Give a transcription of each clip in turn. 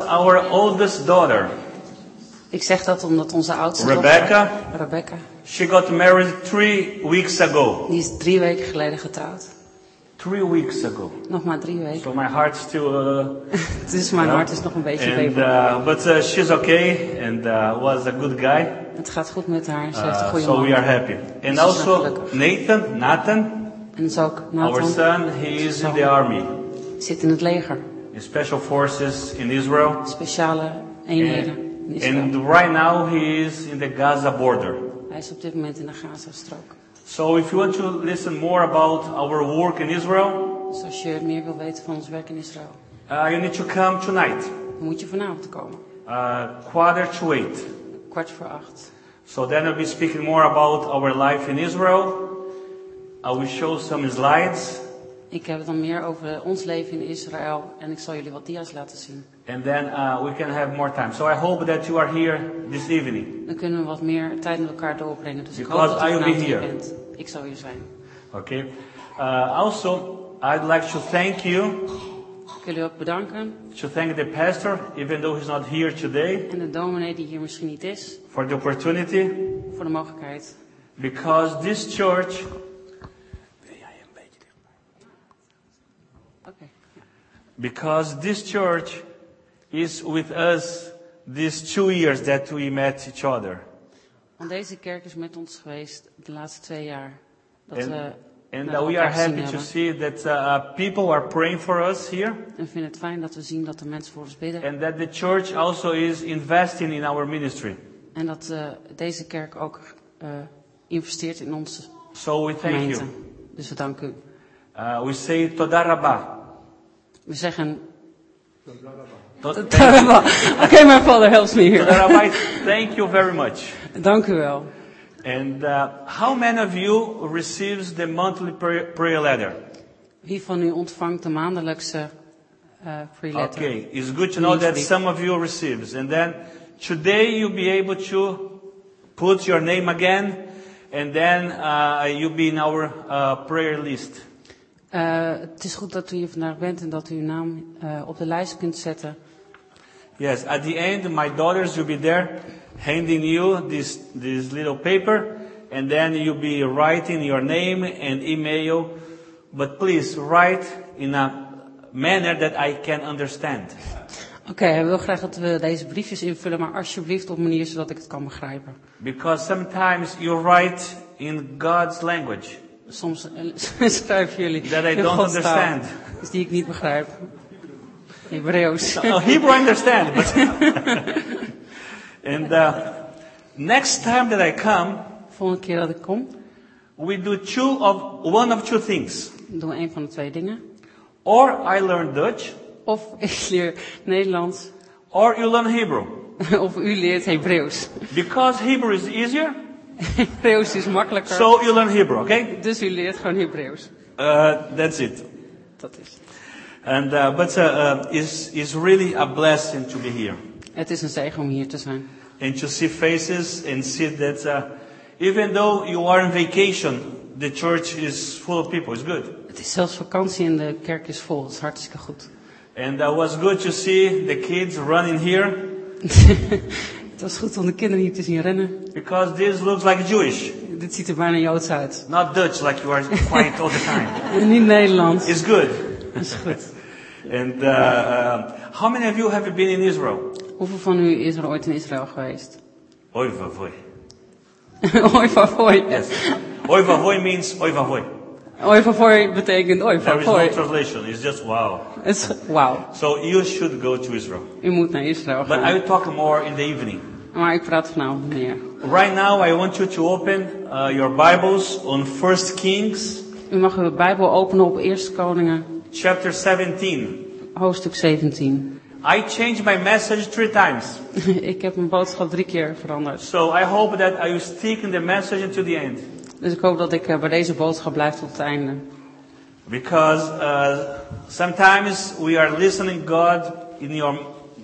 our oldest daughter, Ik zeg dat omdat onze oudste Rebecca. dochter, Rebecca, she got married three weeks ago. die is drie weken geleden getrouwd. Three weeks ago. Nog maar drie weken. So my heart still. Uh, Dus mijn Yeah. hart is nog een beetje and, beven. uh, but uh, she's okay and uh, was a good guy. Het gaat goed met haar. Ze heeft een Uh, goede so man. we are happy. And Ze is wel also gelukkig. Nathan, Nathan, En dat is ook our Nathan. son, he is in the army, Zit in het leger. in special forces in Israel. Speciale eenheden. in And, Israël. and right now he is in the Gaza border. Hij is op dit moment in de Gazastrook. So if you want to listen more about our work in Israel, Dus als je meer wil weten van ons werk in Israël, uh, you need to come tonight, dan moet je vanavond komen. uh, quarter to eight. Kwart voor acht. So then I'll be speaking more about our life in Israel. I will show some slides, Ik heb het dan meer over ons leven in Israël en ik zal jullie wat dia's laten zien. and then uh, we can have more time. So I hope that you are here this evening. Dan kunnen we wat meer tijd met elkaar doorbrengen. Dus ik hoop Because dat I je will be vanavond hier here. bent. Ik zal hier zijn. Okay. Uh, also, I'd like to thank you, Ik wil u ook bedanken. to thank the pastor, even though he's not here today, En de dominee die hier misschien niet is, for the opportunity, voor de mogelijkheid. because this church Oké. Because this church is with us these two years that we met each other. Want deze kerk is met ons geweest de laatste twee jaar. Dat we And, and naar we elkaar are gezien happy to hebben. see that uh, people are praying for us here En we vinden het fijn dat we zien dat de mensen voor ons bidden. and that the church also is investing in our ministry. En dat eh, deze kerk ook eh, investeert in onze So we thank gemeente. you. Dus we danken u. Uh, we say Toda Rabbah. We zeggen... Tot- Thank you. Oké, my father helps me Toda here. Rabbah, thank you very much. Dank u wel. And uh, how many of you receives the monthly prayer, prayer letter? Wie van u ontvangt de maandelijkse eh free letter? Okay, it's good to know that some of you receives, and then today you'll be able to put your name again, and then uh, you'll be in our uh, prayer list. Eh, het is goed dat u hier vandaag bent en dat u uw naam eh, op de lijst kunt zetten. Yes, at the end, my daughters will be there, handing you this this little paper, and then you'll be writing your name and email. But please write in a manner that I can understand. Oké, hij wil graag dat we deze briefjes invullen, maar alsjeblieft op een manier zodat ik het kan begrijpen. Because sometimes you write in God's language. Soms eh, schrijven jullie That I in don't Gods taal, understand. Dus die ik niet begrijp. Hebreeuws. No, Hebrew I understand. But and uh, next time that I come, Volgende keer dat ik kom, we do two of one of two things. doen we een van de twee dingen. Or I learn Dutch, Of ik leer Nederlands, or you learn Hebrew. of u leert Hebreeuws. Because Hebrew is easier, Hebreeuws is makkelijker, so you learn Hebrew. Okay, dus u leert gewoon Hebreeuws. uh, that's it. Dat is het. And uh, but uh, uh, it's, it's really a blessing to be here Het is een zegen om hier te zijn. and to see faces and see that uh, even though you are on vacation, the church is full of people. It's good. Het is zelfs vakantie en de kerk is vol. Dat is hartstikke goed. And uh, was good to see the kids running here Het was goed om de kinderen hier te zien rennen. because this looks like Jewish, Dit ziet er bijna Joods uit. not Dutch, like you are quiet all the time. En niet Nederlands. It's good. Dat is goed. And uh, uh, how many of you have been in Israel? Hoeveel van u is er ooit in Israël geweest? Oy vavoy. Ooi vavoi. Yes. Oy vavoy means oy vavoy. Ooi vavoi betekent ooi There is no vavoi. translation. It's just wow. Het is- Wauw, So you should go to Israel. u moet naar Israël But I gaan. will talk more in the evening. Maar ik praat vanavond meer. Right now, I want you to open uh, your Bibles on First Kings U mag uw Bijbel openen op 1 Koningen, chapter 17. hoofdstuk 17. I changed my message three times. ik heb mijn boodschap drie keer veranderd. So I hope that I will stick in the message until the end. Dus ik hoop dat ik eh, bij deze boodschap blijf tot het einde. Because uh, sometimes we are listening God in your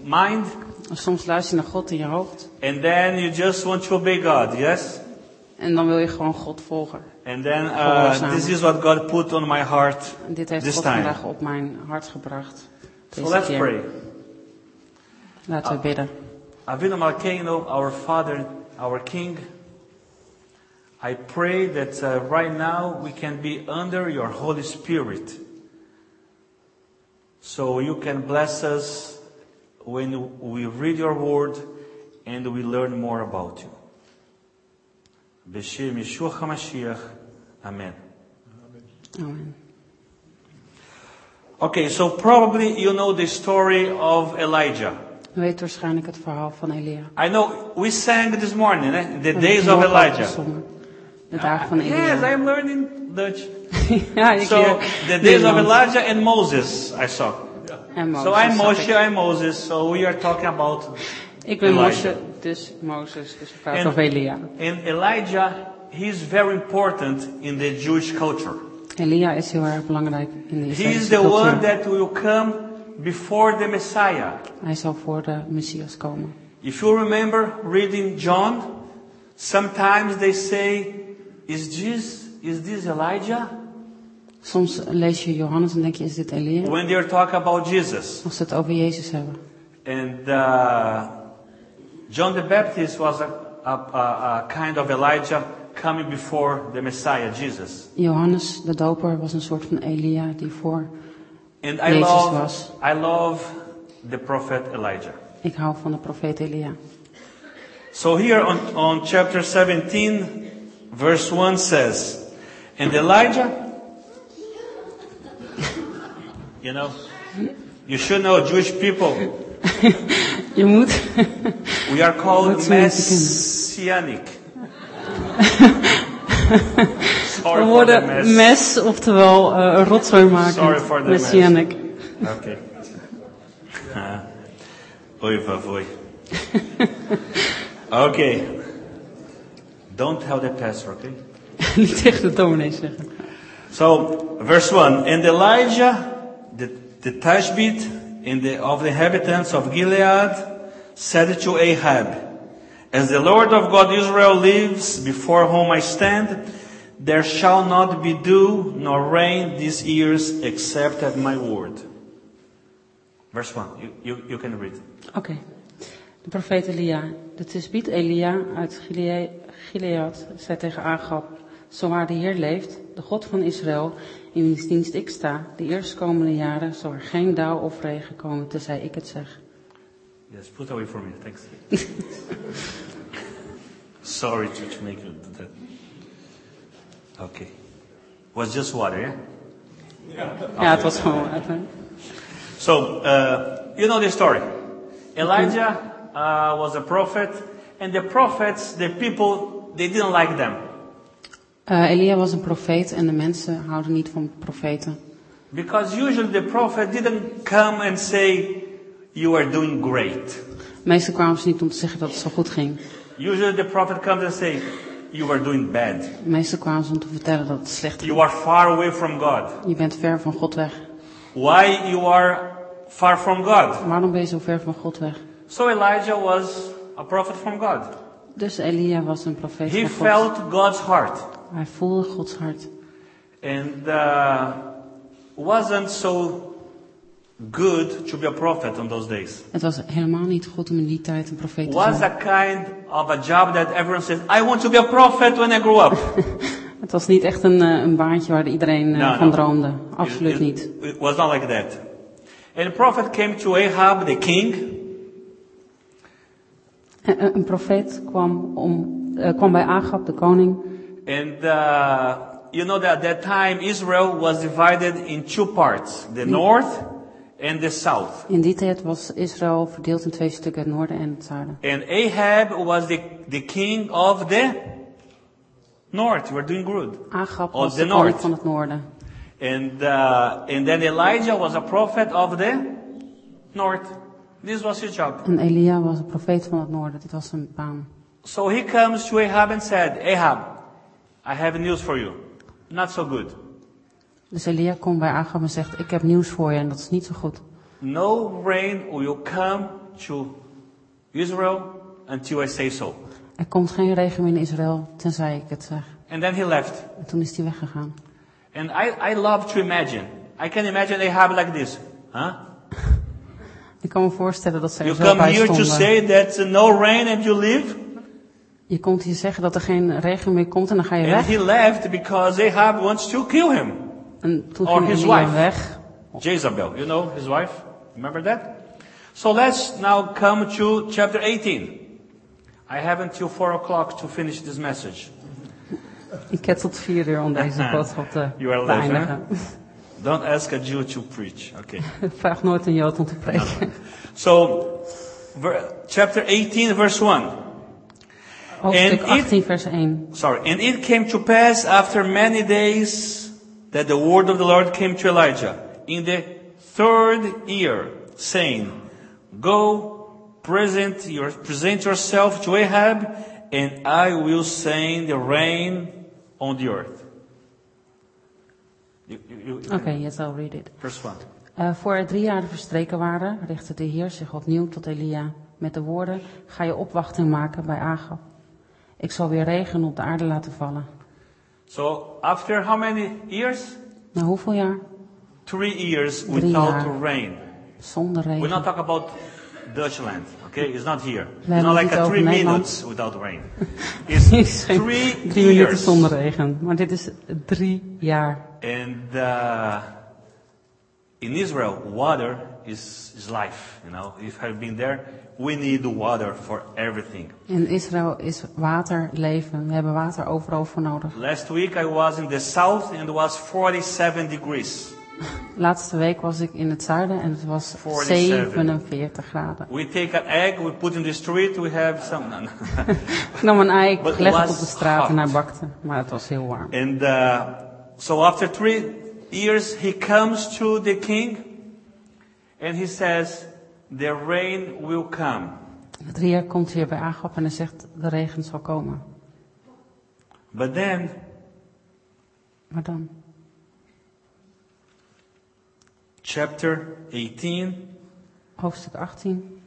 mind Soms luister je naar God in je hoofd. and then you just want to obey God, yes? En dan wil je gewoon God volgen. And then uh, this is what God put on my heart En dit heeft this God time. vandaag op mijn hart gebracht. So Deze let's keer. pray. Laten we bidden. Avino Malkeino, our Father, our King, I pray that uh, right now we can be under your Holy Spirit. So you can bless us when we read your word and we learn more about you. Beshem Yeshua HaMashiach. Amen. Amen. Okay, so probably you know the story of Elijah. U weet waarschijnlijk het verhaal van Elia. I know we sang this morning, eh? the We hebben days het of heel vaak Elijah. gezongen. De dagen van Elia. Yes, I'm learning Dutch. ja, ik So leer the days of Nederlands. Elijah and Moses, I saw. En Mozes, So I'm zag Moshe, ik. I'm Moses. So we are talking about Ik ben Elijah. Moshe, dus Mozes, dus we praten En- over Elia. and Elijah. He's very important in the Jewish culture. Elia is heel erg belangrijk in de He is Israëlische the one cultuur. that will come before the Messiah. Hij zal voor de Messias komen. If you remember reading John, sometimes they say, "Is this is this Elijah?" Soms lees je Johannes en denk je, is dit Elia? When they're talking about Jesus, Als ze het over Jezus hebben. and uh, John the Baptist was a, a, a, a kind of Elijah coming before the Messiah, Jesus. Johannes de doper was een soort van Elia die voor... And I Jesus love, was. I love the prophet Elijah. Ik hou van de profeet Elia. So here on, on chapter 17, verse 1 says, And Elijah, you know, you should know Jewish people, Je moet... we are called That's what I was thinking. messianic. Sorry for We the worden mess. mes, oftewel eh rotzooi maken. Sorry for the mess. Messianic. Okay. Ah. Oi, vavoi. Okay. Don't tell the pastor, okay? Niet tegen de dominee zeggen. So, verse 1. And Elijah, the, the Tashbit, and the, of the inhabitants of Gilead, said to Ahab, As the Lord of God Israel lives, before whom I stand, there shall not be dew nor rain these years except at my word. Verse 1. You, you, you can read. Oké. De profeet Elia. De tisbiet Elia uit Gilea- Gilead zei tegen Agab, zowaar de Heer leeft, de God van Israël, in wiens dienst ik sta, de eerstkomende jaren zal er geen dauw of regen komen, tenzij ik het zeg. Yes, put away for me. Thanks. Sorry to, to make you do that. Okay. Was just water, yeah? Ja, het was gewoon water. So, uh, you know the story. Elijah uh, was a prophet, and the prophets, the people, they didn't like them Eh, Elia was een profeet en de mensen houden niet van profeten. because usually the prophet didn't come and say, "You are doing great." Meestal kwamen ze niet om te zeggen dat het zo goed ging. Usually the prophet comes and say, "You are doing bad. Meestal kwamen ze om te vertellen dat het slecht ging. You are far away from God. Je bent ver van God weg. Why you are far from God?" Waarom ben je zo ver van God weg? So Elijah was a prophet from God. Dus Elia was een profeet He van God. felt God's heart. Hij voelde Gods hart. and uh, wasn't so good to be a prophet in those days. Het was helemaal niet goed om in die tijd een profeet te Was zijn. a kind of a job that everyone says, I want to be a prophet when I grow up. Het was niet echt een, eh, een baantje waar iedereen eh, Nou, van nou. droomde. Absoluut it, niet. It, it was not like that. And the prophet came to Ahab, the king, Eh, eh, Een profeet kwam, om, eh, kwam bij Agab, de koning. and uh, you know that at that time Israel was divided in two parts, the north and the south. In die tijd was Israël verdeeld in twee stukken, het noorden en het zuiden. And Ahab was the, the king of the north. We're doing good. Agab Of was the de koning north. van het noorden. And, uh, and then Elijah was a prophet of the north. This was his job. En Elia was een profeet van het noorden. Dit was zijn baan. So he comes to Ahab and said, Ahab, I have news for you. Not so good. Dus Elia komt bij Agab en zegt, ik heb nieuws voor je en dat is niet zo goed. No rain will come to Israel until I say so. Er komt geen regen meer in Israël, tenzij ik het zeg. And then he left. En toen is hij weggegaan. And I, I love to imagine. I can imagine Ahab like this. Huh? Ik kan me voorstellen dat ze You er zo come bij here to stonden. say that no rain and you leave? Je komt hier zeggen dat er geen regen meer komt en dan ga And je weg. he left because Ahab wants to kill him. En toen Or ging his Elia wife. weg. Jezebel, you know, his wife. Remember that? So let's now come to chapter 18. I have until 4 o'clock to finish this message. Ik heb tot vier uur om deze boodschap te You are te late, eindigen. Don't ask a Jew to preach. Okay. Vraag nooit een Jood om te preken. So, ver, chapter 18, verse 1. Hoofdstuk it- 18 vers 1. Sorry. And it came to pass after many days that the word of the Lord came to Elijah in the third year, saying, Go present your present yourself to Ahab, and I will send the rain on the earth. You, you, you, Oké, yes, I'll read it. Verse one. Eh, voor er drie jaren verstreken waren, richtte de Heer zich opnieuw tot Elia met de woorden: Ga je opwachting maken bij Agab. Ik zal weer regen op de aarde laten vallen. So after how many years? Na hoeveel jaar? Three years Three without years. rain. Zonder We're not regen. talking about Dutchland, okay? It's not here. It's hebben not like het a over three Nederland. minutes without rain. It's Is geen three drie minuten years. zonder regen. Maar dit is drie jaar. And uh, in Israel, water is, is life, you know? If I've been there, we need water for everything. In Israël is water leven. We hebben water overal voor nodig. Last week I was in the south and it was 47 degrees. Laatste week was ik in het zuiden en het was 47. 47 graden. We take an egg, we put in the street, we have some... no, no. Ik nam een ei, ik But it legde het was op de straat en hot. hij bakte. Maar het was heel warm. And uh, so after three years, he comes to the king and he says, The rain will come. Na Drie jaar komt hij weer bij Agap en hij zegt de regen zal komen. But then, Maar dan, chapter 18, hoofdstuk 18.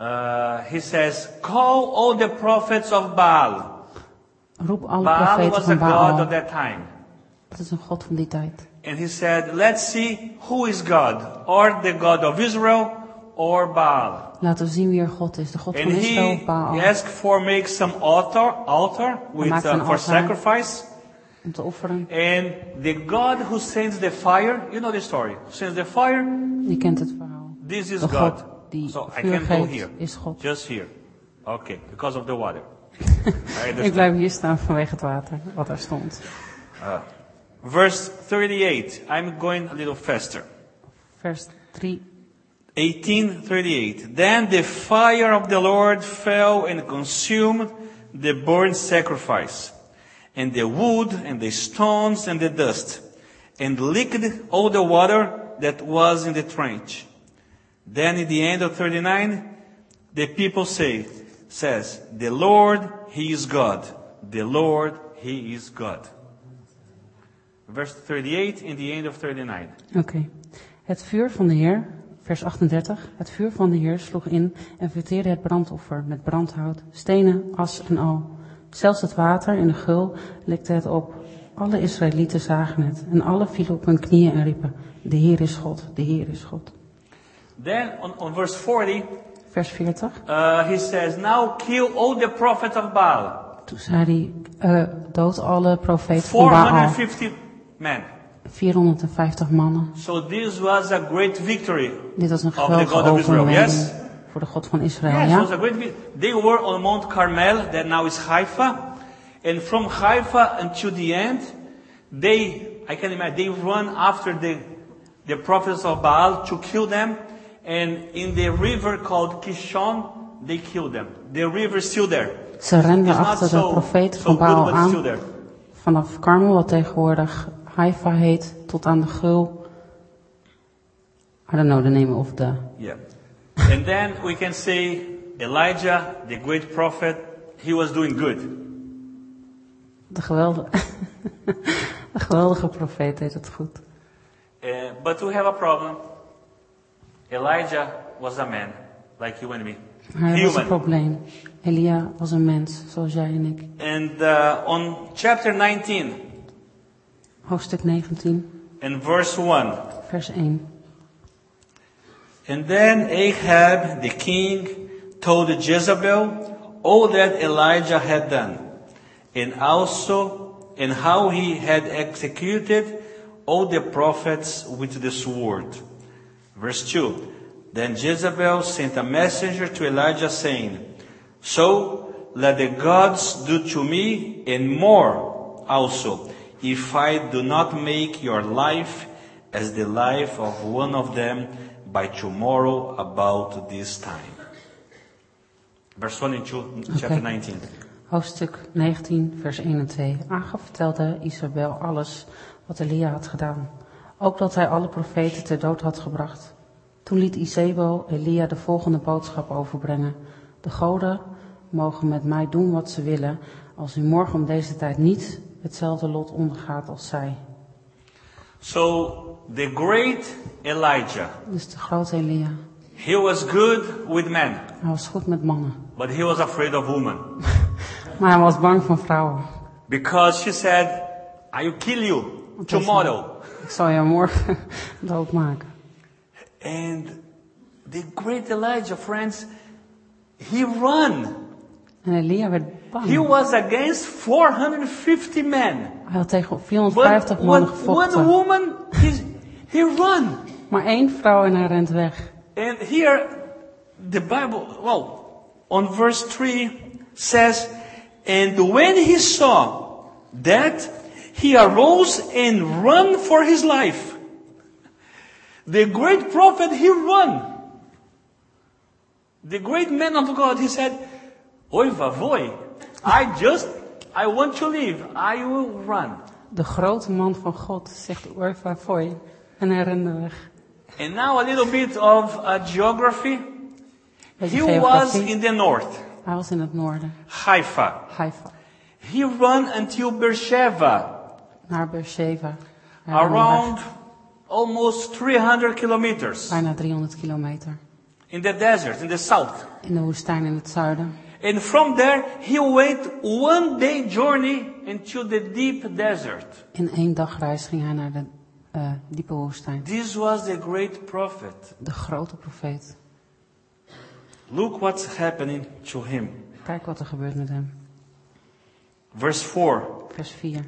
uh, he says, Call all the prophets of Baal. Roep alle Baal profeten was a van god of Baal. that time. Dat is een god van die tijd. And he said, Let's see who is God, or the God of Israel, or Baal. Laten we zien wie er God is. De god And van he, Israël of he Baal. asked for make some altar, altar with, maakt uh, een for altaar. sacrifice. Om te offeren. And the God who sends the fire, you know the story, sends the fire, Je kent het verhaal. this is De God. god die So I vuur can't go here, geeft is God. just here. Okay, because of the water. I Ik understand. blijf hier staan vanwege het water wat daar stond. Verse 38, I'm going a little faster. Vers 3. 1838. Then the fire of the Lord fell and consumed the burnt sacrifice, and the wood, and the stones, and the dust, and licked all the water that was in the trench. Then in the end of 39, the people say, says, the Lord, He is God. The Lord, He is God. Verse 38 in the end of 39. Oké. Het vuur van de Heer, vers 38. Het vuur van de Heer sloeg in en verteerde het brandoffer met brandhout, stenen, as en al. Zelfs het water in de gul likte het op. Alle Israëlieten zagen het en alle vielen op hun knieën en riepen, de Heer is God, de Heer is God. Then on, on verse 40, Vers 40. Uh, he says, now kill all the prophets of Baal. Toen zei hij, eh dood alle profeten van Baal. 450 men. 450 mannen. So this was a great victory. Dit was een Of the geweldige God of Israel, overwinning yes? voor de God van Israël. Yes, it ja? was a great vi- They were on Mount Carmel, that now is Haifa. And from Haifa until the end, they, I can imagine, they run after the, the prophets of Baal to kill them. And in the river called Kishon, they killed them. The river is still there. Ze renden It's not achter de so, profeten so van good, Baal but it's aan. still there. Vanaf Carmel, wat tegenwoordig Haifa heet, tot aan de Gul. I don't know the name of the... Yeah. And then we can say Elijah, the great prophet, he was doing good. De geweldige, de geweldige profeet deed het goed. Uh, but we have a problem. Elijah was a man, like you and me. Maar er was een Human. probleem. Elia was een mens, zoals jij en ik. And uh, on chapter 19 Hoofdstuk 19, and verse 1, vers 1. And then Ahab the king told Jezebel all that Elijah had done, and also and how he had executed all the prophets with the sword. Verse 2. Then Jezebel sent a messenger to Elijah saying, So let the gods do to me and more also, if I do not make your life as the life of one of them by tomorrow about this time. Verse 1 and 2, chapter Okay. 19. Hoofdstuk 19, vers 1 en 2. Agab vertelde Isabel alles wat Elia had gedaan. Ook dat hij alle profeten ter dood had gebracht. Toen liet Isabel Elia de volgende boodschap overbrengen. De goden mogen met mij doen wat ze willen, als u morgen om deze tijd niet hetzelfde lot ondergaat als zij. So the great Elijah, Dus de grote Elia. he was good with men, Hij was goed met mannen, but he was afraid of women maar hij was bang van vrouwen. because she said, I will kill you Want hij zei, tomorrow. Ik zal jou morgen doodmaken. And the great Elijah, friends, he ran. En Elia werd bang. He was against 450 men. Hij had tegen But 450 one, mannen one gevochten. woman, he, he ran. Maar één vrouw en hij rent weg. And here, the Bible, well, on verse 3 says, And when he saw that, he arose and ran for his life. The great prophet, he ran. The great man of God, he said, Oi vavoy, I just, I want to leave. I will run. De grote man van God zegt Urfa Foy. En hij rende weg. And now a little bit of uh, geography. Beetje He was geografie. in the north, Hij was in het noorden, Haifa. Haifa, He ran until Beersheba, naar Beersheba. Hij rende weg, around almost 300 kilometers Bijna 300 kilometer. in the desert, in the south. In de woestijn in het zuiden. And from there, he went one day journey into the deep desert. In één dagreis ging hij naar de eh, diepe woestijn. This was the great prophet. De grote profeet. Look what's happening to him. Kijk wat er gebeurt met hem. Verse 4. Vers 4.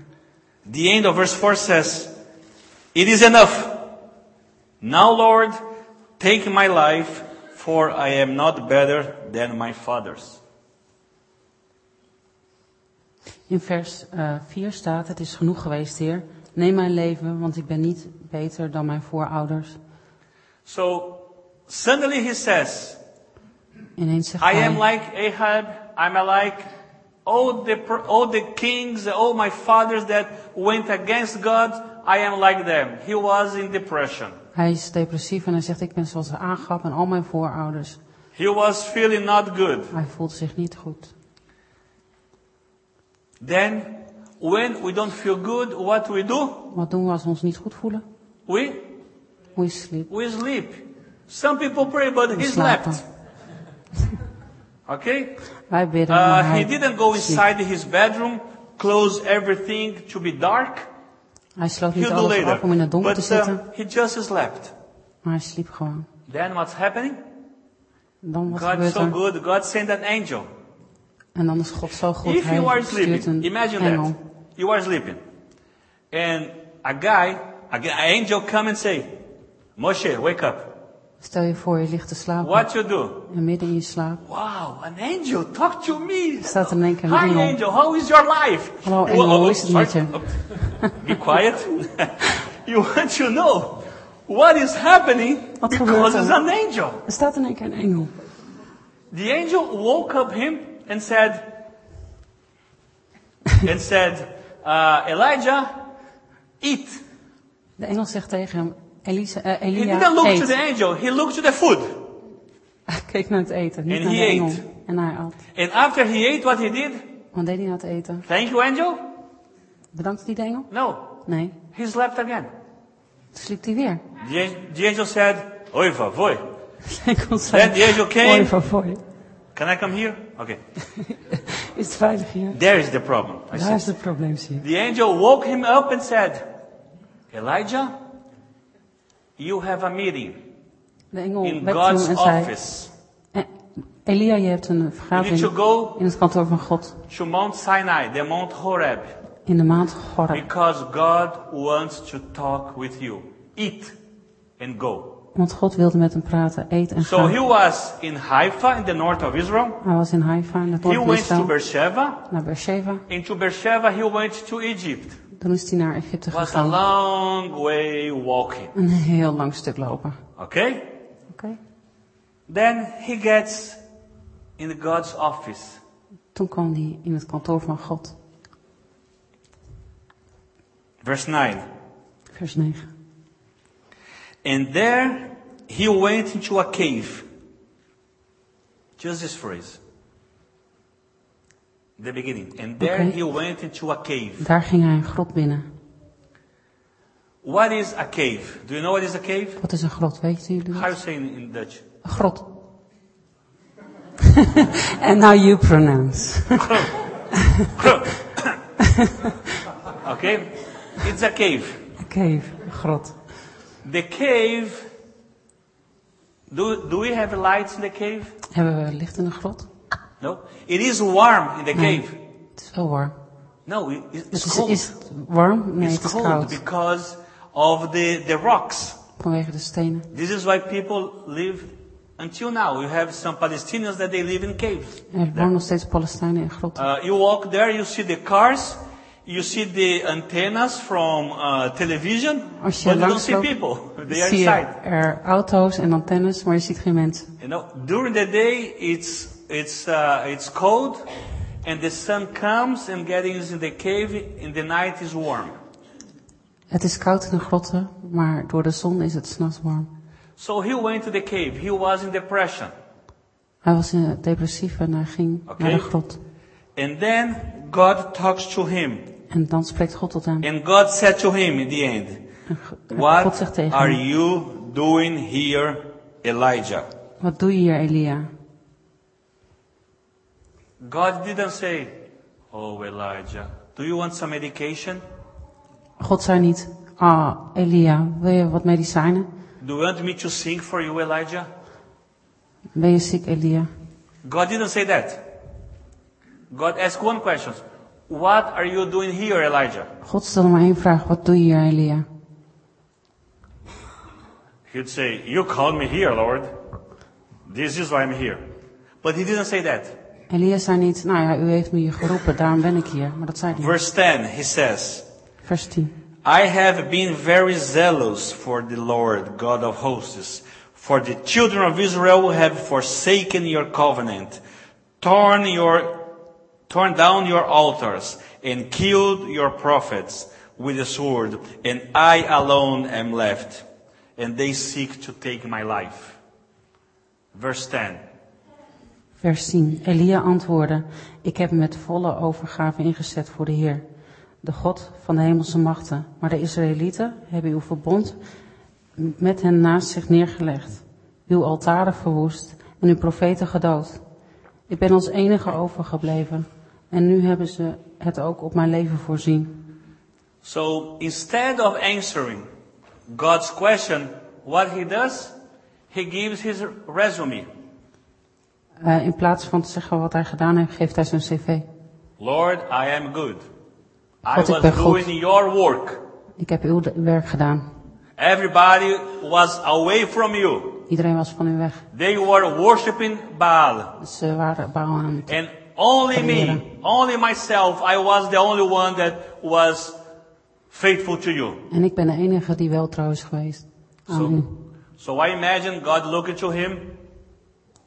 The end of verse 4 says, It is enough. Now, Lord, take my life, for I am not better than my father's. In vers eh, 4 staat: Het is genoeg geweest, Heer. Neem mijn leven, want ik ben niet beter dan mijn voorouders. So suddenly he says, Ineens zegt I hij: am like Ahab, I'm like all the, per- all the kings, all my fathers that went against God, I am like them. He was in depression. Hij is depressief en hij zegt: Ik ben zoals Agab en al mijn voorouders. He was feeling not good. Hij voelt zich niet goed. Then, when we don't feel good, what we do? Wat doen we als we ons niet goed voelen? We, We sleep. we sleep. Some people pray, but We he slapen. slept. Okay? Wij bidden. maar Uh, hij he didn't go sliep. inside his bedroom, close everything to be dark. Hij sloot niet He'll do alles af om in later. het donker te But zitten, uh, he just slept. maar hij sliep gewoon. Then what's happening? Dan wat God gebeurt so er? good. God sent an angel. En dan is God zo goed. If you hij are stuurt een sleeping, imagine engel. that. You are sleeping. And a guy, a g- an angel come and say, Moshe, wake up. Stel je voor, je ligt te slapen What you do? en midden in je slaap Wow, an angel, talk to me. staat in één keer een Hi engel. angel, how is your life? Hello, Whoa, angel, oh, hoe is het met sorry. je? Oh, Be quiet. you want to know what is happening Wat gebeurt because er? it's an angel. Er staat in één keer een engel. The angel woke up him and said, and said, uh, Elijah, eat. De engel zegt tegen hem, Elisa, eh, He Elia, didn't look to eet. the angel, he looked to the food. Hij keek naar het eten, niet And naar de he engel. ate. En hij at. And after he ate what he did, Wat deed hij na het eten? thank you angel? Bedankt die de engel? No, Nee. he slept again. Toen sliep hij weer. The, an- the angel said, Oi, vavoy, De Then engel the zei, angel mooi came. voor voor Can I come here? Okay. Is het veilig hier? There is the problem. I Daar said. is het probleem, zie je. The angel woke him up and said, Elijah, you have a meeting. De engel in wekte hem God's en zei, office. "Eh, Elia, je hebt een You need to vergadering go in het kantoor van God. to Mount Sinai, the Mount Horeb, In de maand Goreb. because God wants to talk with you. Eat and go. Want God wilde met hem praten, eet en So gaan. he was in Haifa, in the north of Israël. Hij was in Haifa, in het He noorden van went to Israël, Beersheba. naar Beersheba. And to Beersheba, he went to Egypt. Toen is hij naar Egypte was a gegaan. long way walking. Een heel lang stuk lopen. Okay? Oké. Then he gets in God's office. Toen kwam hij in het kantoor van God. Verse 9. Vers 9. And there he went into a cave. Just this phrase. The beginning. And there Okay. he went into a cave. Daar ging hij een grot binnen. What is a cave? Do you know what is a cave? Wat is een grot, weten jullie dat? How you say in, in Dutch? Een grot. And now you pronounce. okay? It's a cave. Een cave, een grot. The cave. Do, do we have lights in the cave? Hebben we licht in een grot? No. It is warm in the cave. Het is wel warm. No, it, it's Het is, cold. is het warm? Nee, it's het is cold koud. because of the, the rocks. Vanwege de stenen. This is why people live until now. You have some Palestinians that they live in caves. Er wonen nog steeds Palestijnen in grotten. Uh, you walk there, you see the cars, you see the antennas from uh, television, but Als you je don't langs see loopt, people. They are zie je inside. er auto's en antennes, maar je ziet geen mensen. You know, during the day it's it's uh, it's cold, and the sun comes and getting is in the cave. In the night is warm. Het is koud in de grotten, maar door de zon is het s'nachts warm. So he went to the cave. He was in depression, Hij was eh, depressief en hij ging Oké. naar de grot. and then God talks to him, En dan spreekt God tot hem. and God said to him in the end, En G- God zegt "What tegen are hem, you doing here, Elijah?" wat doe je hier Elia? God didn't say, "Oh Elijah, do you want some medication? God zei niet, ah Elia, wil je wat medicijnen? Do you want me to sing for you, Elijah?" Ben je ziek Elia? God didn't say that. God asked one question. What are you doing here, Elijah? God stelde maar één vraag, wat doe je hier Elia? He'd say, you called me here, Lord. This is why I'm here. But he didn't say that. Elia zei niet, nou ja, u heeft me hier geroepen, daarom ben ik hier. Maar dat zei hij niet. Verse 10, he says, Vers 10. I have been very zealous for the Lord, God of hosts, for the children of Israel have forsaken your covenant, torn your, torn down your altars, and killed your prophets with the sword, and I alone am left, and they seek to take my life. Verse 10. Vers 10. Elia antwoordde, ik heb me met volle overgave ingezet voor de Heer, de God van de hemelse machten. Maar de Israëlieten hebben uw verbond met hen naast zich neergelegd, uw altaren verwoest en uw profeten gedood. Ik ben als enige overgebleven en nu hebben ze het ook op mijn leven voorzien. So instead of answering God's question, what he does, he gives his resume. Eh, in plaats van te zeggen wat hij gedaan heeft, geeft hij zijn cv. Lord, I am good. I God, ik ben was goed. doing your work. Ik heb uw de- werk gedaan. Everybody was away from you. Iedereen was van u weg. They were worshiping Baal. Ze waren Baal aan het And only me, Primera. only myself, I was the only one that was faithful to you. En ik ben de enige die wel trouw is geweest aan u. So, so I imagine God looking to him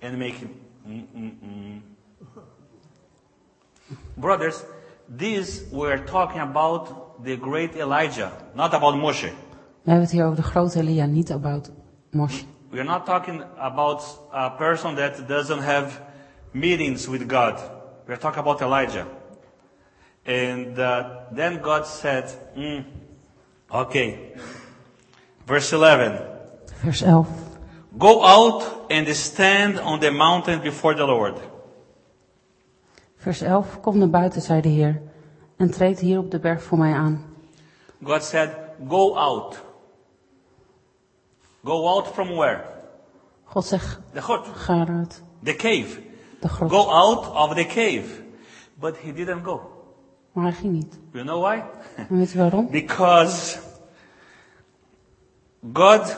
and making, mm, mm, mm. Brothers, this we're talking about the great Elijah, not about Moshe. We hebben het hier over de grote Elia, niet about Moshe. We are not talking about a person that doesn't have meetings with God. We are talking about Elijah. And uh, then God said, mm, okay, verse 11, Vers 11. go out and stand on the mountain before the Lord. Vers 11. Kom naar buiten, zei de Heer, en treed hier op de berg voor mij aan. God said, go out. Go out from where? God zegt, the hut, ga eruit, the cave. de grot. Go out of the cave. But he didn't go. Maar hij ging niet. You know why? En weet je waarom? because God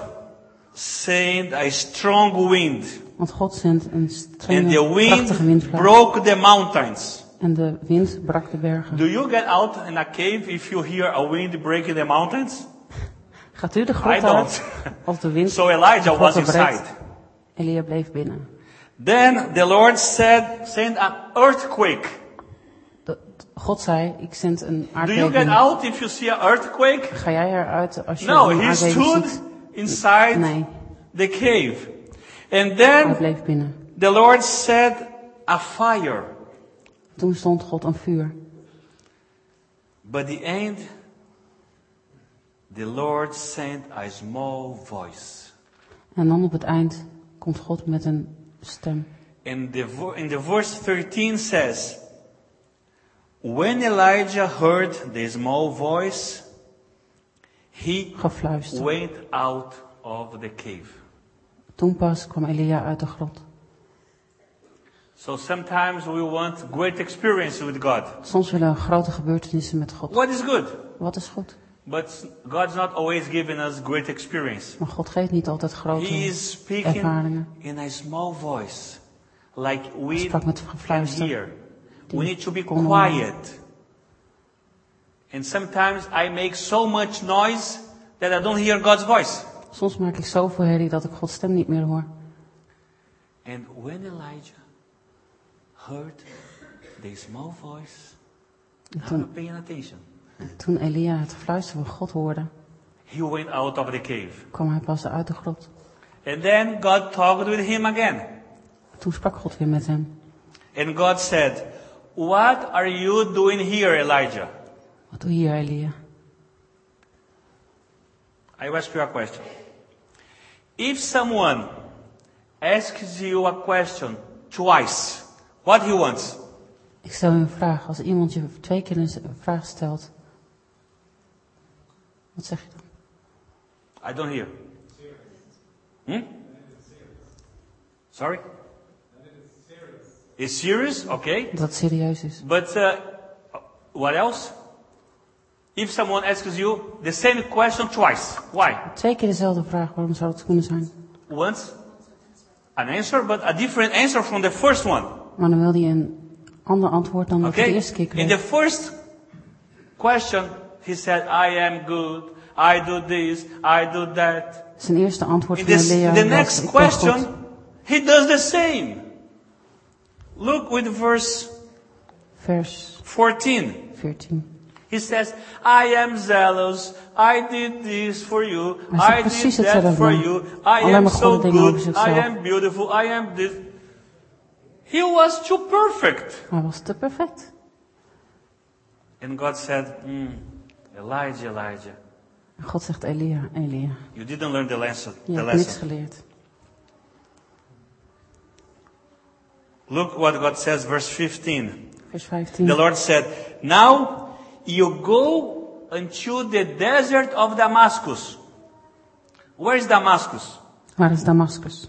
sent a strong wind, Want God zendt een and the strenge, wind krachtige windvlaag. broke the mountains. En de wind brak de bergen. Do you get out in a cave if you hear a wind breaking the mountains? Gaat u de I grot don't. uit? Of de wind So Elijah de was grotten breekt? inside. Elia bleef binnen. Then the Lord said, send an earthquake. De- God zei, ik zend een Do you get aardbeving. out if you see an earthquake? Ga jij eruit als je No, een he stood aardbeving ziet? inside Nee, the cave. And hij then bleef binnen. the Lord said, a fire. Toen stond God een vuur. But the end, the Lord sent a small voice. En dan op het eind komt God met een stem. And the, vo- in the verse 13 says, When Elijah heard the small voice, he Gefluister. went out of the cave. Toen pas kwam Elia uit de grot. So sometimes we want great experience with God. Soms willen we grote gebeurtenissen met God. What is good? Wat is goed? But God's not always giving us great experience. Maar God geeft niet altijd He is grote. speaking ervaringen. in a small voice, like we sprak met can gefluister. hear. We need to be kon horen. quiet. And sometimes I make so much noise that I don't hear God's voice. Soms maak ik zoveel herrie dat ik Gods stem niet meer hoor. And when Elijah heard the small voice, I'm not paying attention. Toen Elia het gefluister van God hoorde, He went out of the cave. kwam hij pas uit de grot. And then God talked with him again. Toen sprak God weer met hem. And God said, What are you doing here, Elijah? Wat doe je hier, Elia? I ask you a question. If someone asks you a question twice, what he wants? Ik stel je een vraag. Als iemand je twee keer een s- een vraag stelt, wat zeg je dan? I don't hear. Hmm? Sorry? It's serious, okay. Dat het serieus is. But uh, what else? If someone asks you the same question twice, why? Twee keer dezelfde vraag, waarom zou dat kunnen zijn? Once an answer, but a different answer from the first one. Maar dan wil hij een ander antwoord dan dat hij Okay? de eerste keer In kreeg. the first question, he said, I am good. I do this. I do that. Zijn eerste antwoord In van this, Elia the was, next ik ben goed. question, he does the same. Look with verse Vers 14. 14. He says, I am zealous. I did this for you. Hij zegt I did precies that hetzelfde. for you. I Alleen am maar so goede dingen over good. I zichzelf. am beautiful. I am this. He was too perfect. Hij was te perfect. And God said, "Hmm, Elijah, Elijah, En God zegt Elia, Elia, You didn't learn the lesson. je the hebt niks lesson. geleerd. Look what God says, verse 15. Vers 15. The Lord said, Now you go into the desert of Damascus. Where is Damascus? Waar is Damascus?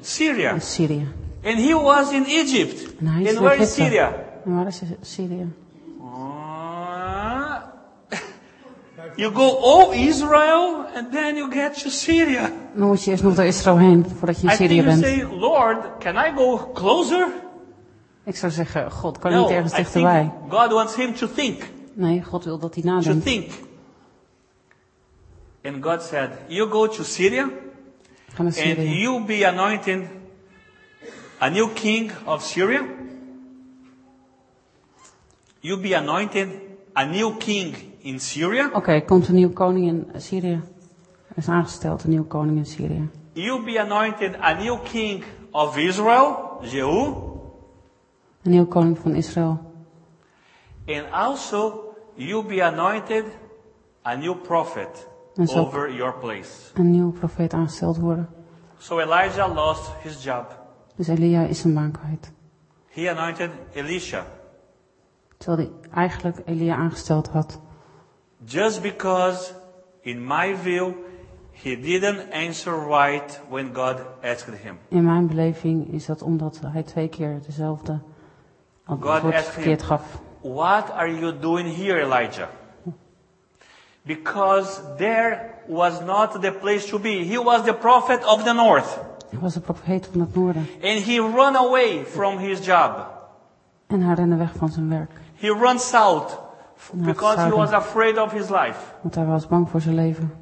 Syria. In Syrië. And he was in Egypt. En hij is and in where is Egypte. Syria? En waar is Syrië? Ah. you go all Israel and then you get to Syria. Dan moet je eerst nog door Israël heen voordat je in I think Syrië you bent. say, Lord, can I go closer? Ik zou zeggen, God kan no, niet ergens I think dichterbij. God wants him to think. Nee, God wil dat hij to nadenkt. think. And God said, You go to Syria Ga naar and Syrië. you be anointed a new king of Syria. You be anointed a new king in Syria. Oké, er komt een nieuwe koning in Syrië. Er is aangesteld een nieuwe koning in Syrië. You be anointed a new king of Israel, Jehu. Een nieuwe koning van Israël. And also you be anointed a new prophet En zo- over your place. Een nieuwe profeet aangesteld worden. So Elijah lost his job. Dus Elia is zijn baan kwijt. He anointed Elisha. Terwijl hij eigenlijk Elia aangesteld had. Just because, in my view, He didn't answer right when God asked him. In mijn beleving is dat omdat hij twee keer dezelfde antwoord asked him. verkeerd gaf. What are you doing here, Elijah? Because there was not the place to be. He was the prophet of the north. Hij was de profeet van het noorden. And he ran away from his job. En hij rende weg van zijn werk. He ran south f- Not because he southern. was afraid of his life. Want hij was bang voor zijn leven.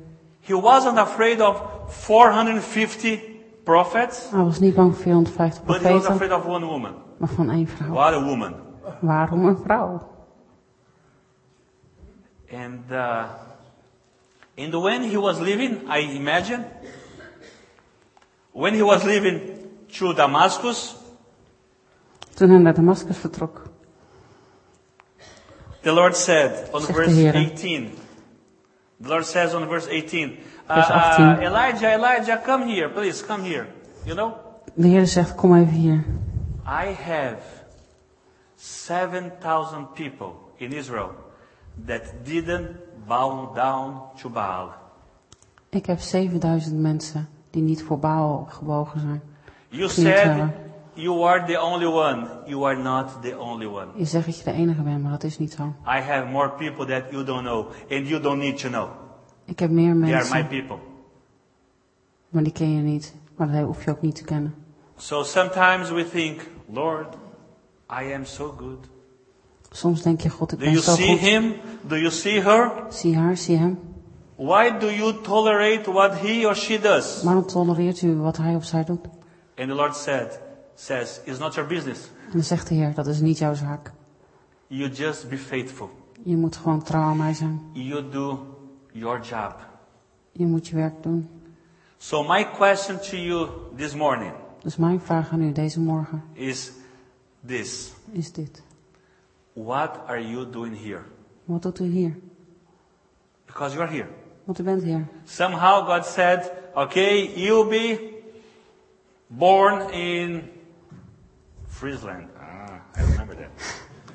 He wasn't afraid of 450 prophets, Hij was niet bang voor 450 but he was profeten, afraid of one woman. maar van één vrouw. What a woman. Waarom een vrouw? And, uh, and when he was leaving, I imagine, when he was leaving to Damascus, Toen hij naar Damascus vertrok, the Lord said on Zegt de verse Heere. 18, the Lord says on verse 18, uh, Vers uh, 18. Elijah, Elijah, come here, please, come here. You know, de Heer zegt, kom even hier. I have 7,000 people in Israel that didn't bow down to Baal. Ik heb 7000 mensen die niet voor Baal gebogen zijn. You Knielt said hebben. you are the only one. You are not the only one. Je zegt dat je de enige bent, maar dat is niet zo. I have more people that you don't know and you don't need to know. Ik heb meer They are my mensen, people. maar die ken je niet. Maar dat hoef je ook niet te kennen. So sometimes we think, Lord, I am so good. Soms denk je, God, ik Do ben you zo see goed. him? Do you see her? Zie haar, zie hem. Why do you tolerate what he or she does? Waarom tolereert u wat hij of zij doet? And the Lord said, says, it's not your business. En dan zegt de Heer, dat is niet jouw zaak. You just be faithful. Je moet gewoon trouw aan mij zijn. You do your job. Je moet je werk doen. So my question to you this morning Dus mijn vraag aan u deze morgen is this. is dit. What are you doing here? Wat doet u hier? Because you are here. Want u bent hier. Somehow God said, okay, you'll be born in Friesland. Ah, I remember that.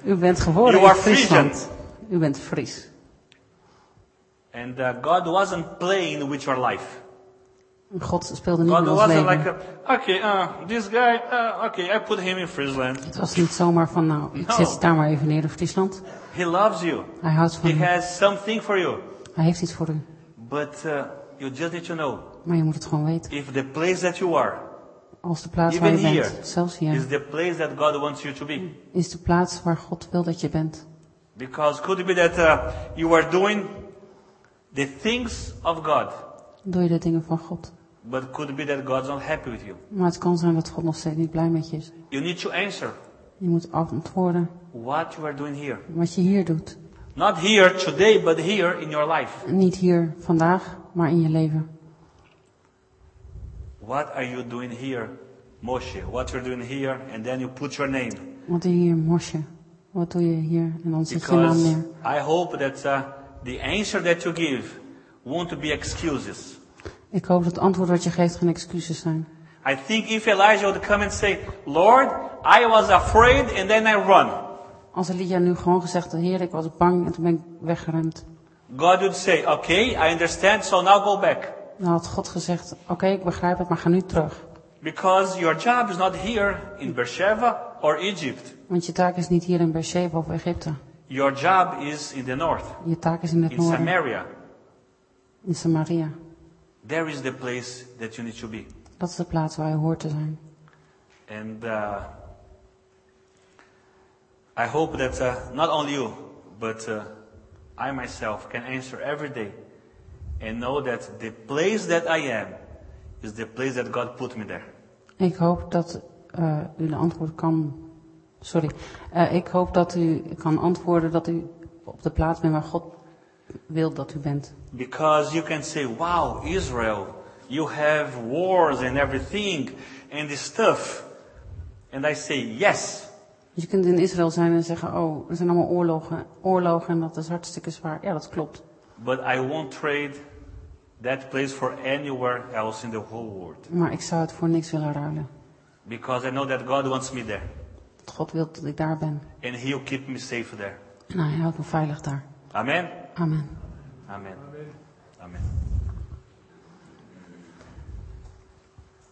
U bent geboren You in are Frisian. Friesland. U bent Fries. And uh, God wasn't playing with your life. God speelde niet God met ons wasn't leven. like, uh, okay, uh, this guy, uh, okay, I put him in Friesland. Het was niet zomaar van, nou, ik No. zet je daar maar even neer in Friesland. He loves you. Hij houdt van He u. has something for you. Hij heeft iets voor u. But uh, you just need to know Maar je moet het gewoon weten. if the place that you are Als de plaats Even waar je bent, here. zelfs is hier, the place that God wants you to be. is de plaats waar God wil dat je bent. Because could it be that uh, you are doing the things of God, Doe je de dingen van God. but could it be that God's not happy with you? Maar het kan zijn dat God nog steeds niet blij met je is. You need to answer Je moet antwoorden what you are doing here. wat je hier doet. Not here today, but here in your life. En Niet hier vandaag, maar in je leven. What are you doing here, Moshe? What you're doing here, and then you put your name. Wat doe je hier, Mosje? Wat doe je hier? En dan zet je je naam Because neer. I hope that uh, the answer that you give won't be excuses. Ik hoop dat het antwoord wat je geeft geen excuses zijn. I think if Elijah would come and say, Lord, I was afraid and then I run. Als Elia nu gewoon gezegd had, heer, ik was bang en toen ben ik weggeremd. God would say, okay, I understand, so now go back. Dan had God gezegd, oké, ik begrijp het, maar ga nu terug. Because your job is not here in Beersheba or Egypt. Want je taak is niet hier in Beersheba of Egypte. Your job is in the north, Je taak is in het in noorden, Samaria. in Samaria. There is the place that you need to be. Dat is de plaats waar je hoort te zijn. And uh, I hope that uh, not only you, but uh, I myself can answer every day and know that the place that I am is the place that God put me there. Ik hoop dat eh, u de antwoord kan. Sorry. Eh, ik hoop dat u kan antwoorden dat u op de plaats bent waar God wil dat u bent. Because you can say, wow, Israel, you have wars and everything and this stuff. And I say, yes, Dus je kunt in Israël zijn en zeggen, oh, er zijn allemaal oorlogen, oorlogen en dat is hartstikke zwaar. Ja, dat klopt. but I won't trade that place for anywhere else in the whole world. Maar ik zou het voor niks willen ruilen. Because I know that God wants me there. Want God wil dat ik daar ben. and he'll keep me safe there. En hij houdt me veilig daar. Amen. Amen. Amen. Amen.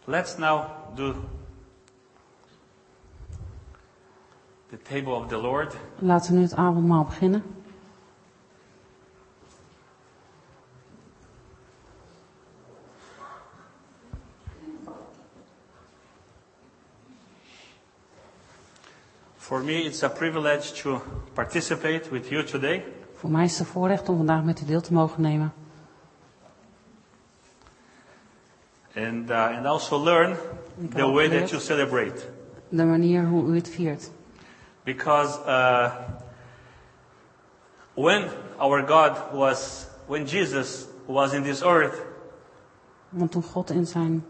Let's now do the table of the Lord. Laten we nu het avondmaal beginnen. For me, it's a privilege to participate with you today. Voor mij is het een voorrecht om vandaag met u deel te mogen nemen. and uh, and also learn the way that you celebrate De manier hoe u het viert. because uh, when our God was when Jesus was in this earth Want toen God in zijn...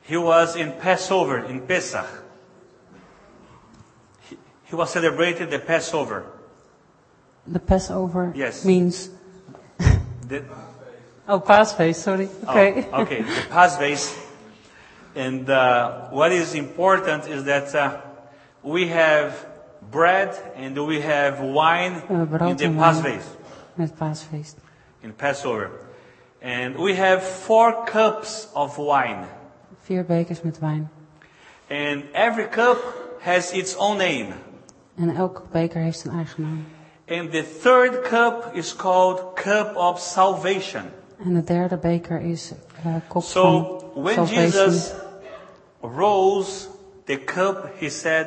he was in Passover in Pesach He- he was celebrating the Passover De Passover Yes. means... the, Oh, paasfeest, sorry. Oké. Oh, okay, the past base. And uh, what is important is that uh, we have bread and we have wine Uh, brood in the en past wijn. base, Met paasfeest. in Passover. And we have four cups of wine. Vier bekers met wijn. And every cup has its own name. En elke beker heeft zijn eigen naam. And the third cup is called cup of salvation. En de derde beker is eh kop So van when salvation. Jesus rose the cup, he said,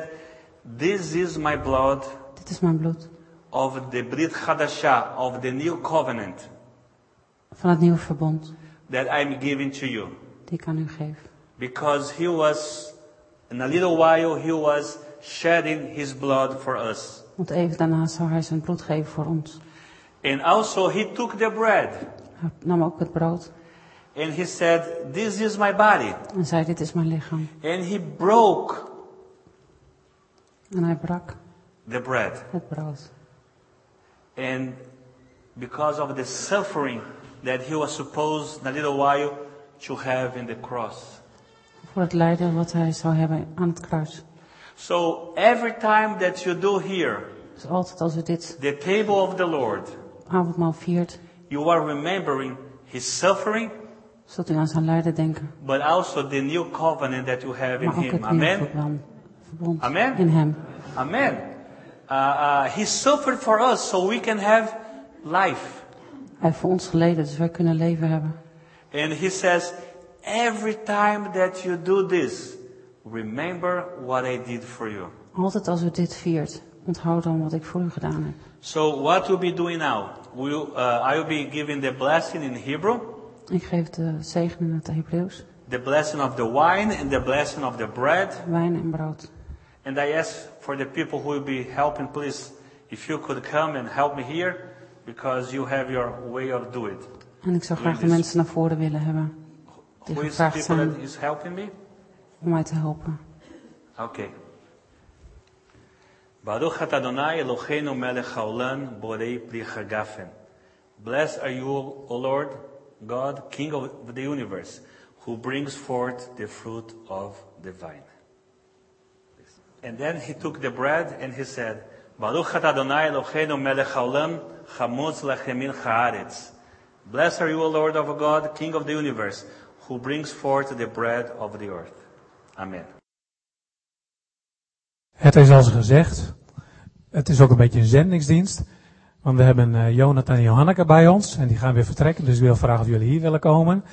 This is my blood Dit is mijn bloed. of the Brit Hadashah, of the new covenant Van het nieuwe verbond. that I'm giving to you. Die ik aan u geef. Because he was, in a little while, he was shedding his blood for us. Want even daarna zou hij zijn bloed geven voor ons. And also he took the bread Hij nam ook het brood. and he said, This is my body. En zei, dit is mijn lichaam. And he broke En hij brak the bread. het brood. And because of the suffering that he was supposed in a little while to have in the cross. Voor het lijden wat hij zou hebben aan het kruis. So every time that you do here Dus altijd als u dit the table of the Lord, avondmaal viert, you are remembering his suffering, zult u aan zijn lijden denken. but also the new covenant that you have in Maar ook him. het nieuwe Amen. verband, verbond Amen. in hem. Amen. Uh, uh, he suffered for us so we can have life. Hij heeft voor ons geleden, dus wij kunnen leven hebben. And he says, every time that you do this, remember what I did for you. Altijd als u dit viert, onthoud dan wat ik voor u gedaan heb. So what we'll be doing now, we'll, uh, I will be giving the blessing in Hebrew, Ik geef de zegen in het Hebreeuws, the blessing of the wine and the blessing of the bread. wijn en brood. And I ask for the people who will be helping, please, if you could come and help me here, because you have your way of doing it. En ik zou graag de Yes. mensen naar voren willen hebben die Who is gevraagd people zijn that is helping me? om mij te helpen. Okay. Baruch at Adonai Eloheinu melech haolam borei pri hagafen. Blessed are you, O Lord, God, King of the universe, who brings forth the fruit of the vine. And then he took the bread and he said, Baruch at Adonai Eloheinu melech haolam chamutz lechemin haaretz. Blessed are you, O Lord of God, King of the universe, who brings forth the bread of the earth. Amen. Het is als gezegd. Het is ook een beetje een zendingsdienst. Want we hebben eh, Jonathan en Johanneke bij ons. En die gaan weer vertrekken. Dus ik wil vragen of jullie hier willen komen.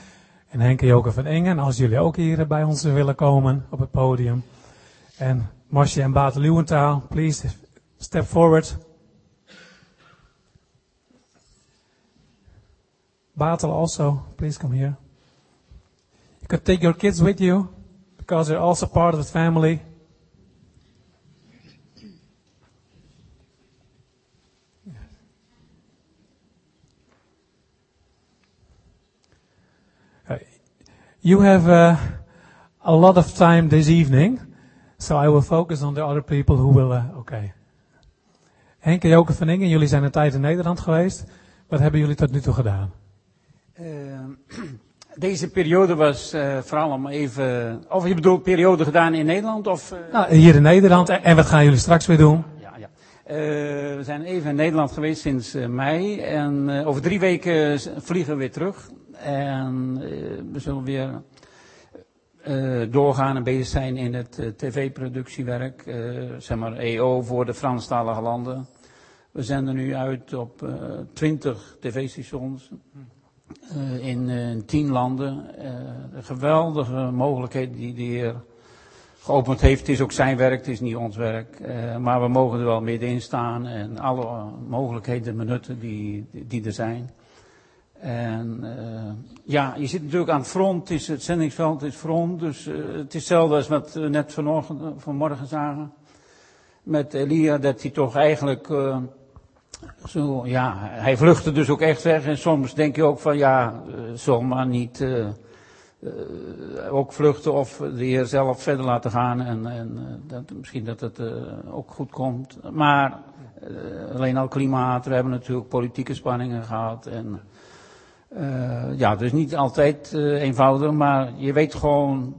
En Henk en Joke van Engen. Als jullie ook hier bij ons willen komen op het podium. En Marcia en Baat Leeuwentaal. Please step forward. Batel also, please come here. You could take your kids with you, because they're also part of the family. You have uh, a lot of time this evening, so I will focus on the other people who will. Uh, okay. Henk en Joke van Ingen, jullie zijn een tijd in Nederland geweest. Wat hebben jullie tot nu toe gedaan? Eh, deze periode was eh, vooral om even. Of je bedoelt periode gedaan in Nederland? Of, eh, Nou, hier in Nederland. En, en wat gaan jullie straks weer doen? ja, ja. Eh, we zijn even in Nederland geweest sinds eh, mei. En eh, over drie weken s- vliegen we weer terug. En eh, we zullen weer eh, doorgaan en bezig zijn in het eh, tv-productiewerk, eh, zeg maar EO voor de Franstalige landen. We zenden nu uit op eh, twintig tv-stations eh, in tien landen. Eh, de geweldige mogelijkheden die de heer geopend heeft. Het is ook zijn werk, het is niet ons werk. Eh, maar we mogen er wel middenin staan en alle eh, mogelijkheden benutten die, die er zijn. En eh, ja, je zit natuurlijk aan het front, het, is, het zendingsveld is front, dus eh, het is hetzelfde als wat we net vanochtend, eh, vanmorgen zagen met Elia, dat hij toch eigenlijk eh, zo, ja, hij vluchtte dus ook echt weg. En soms denk je ook van ja, eh, zomaar niet eh, eh, ook vluchten of de heer zelf verder laten gaan. En, en eh, dat, misschien dat het eh, ook goed komt. Maar eh, alleen al klimaat, we hebben natuurlijk politieke spanningen gehad. En, eh, ja, dus niet altijd eh, eenvoudig, maar je weet gewoon,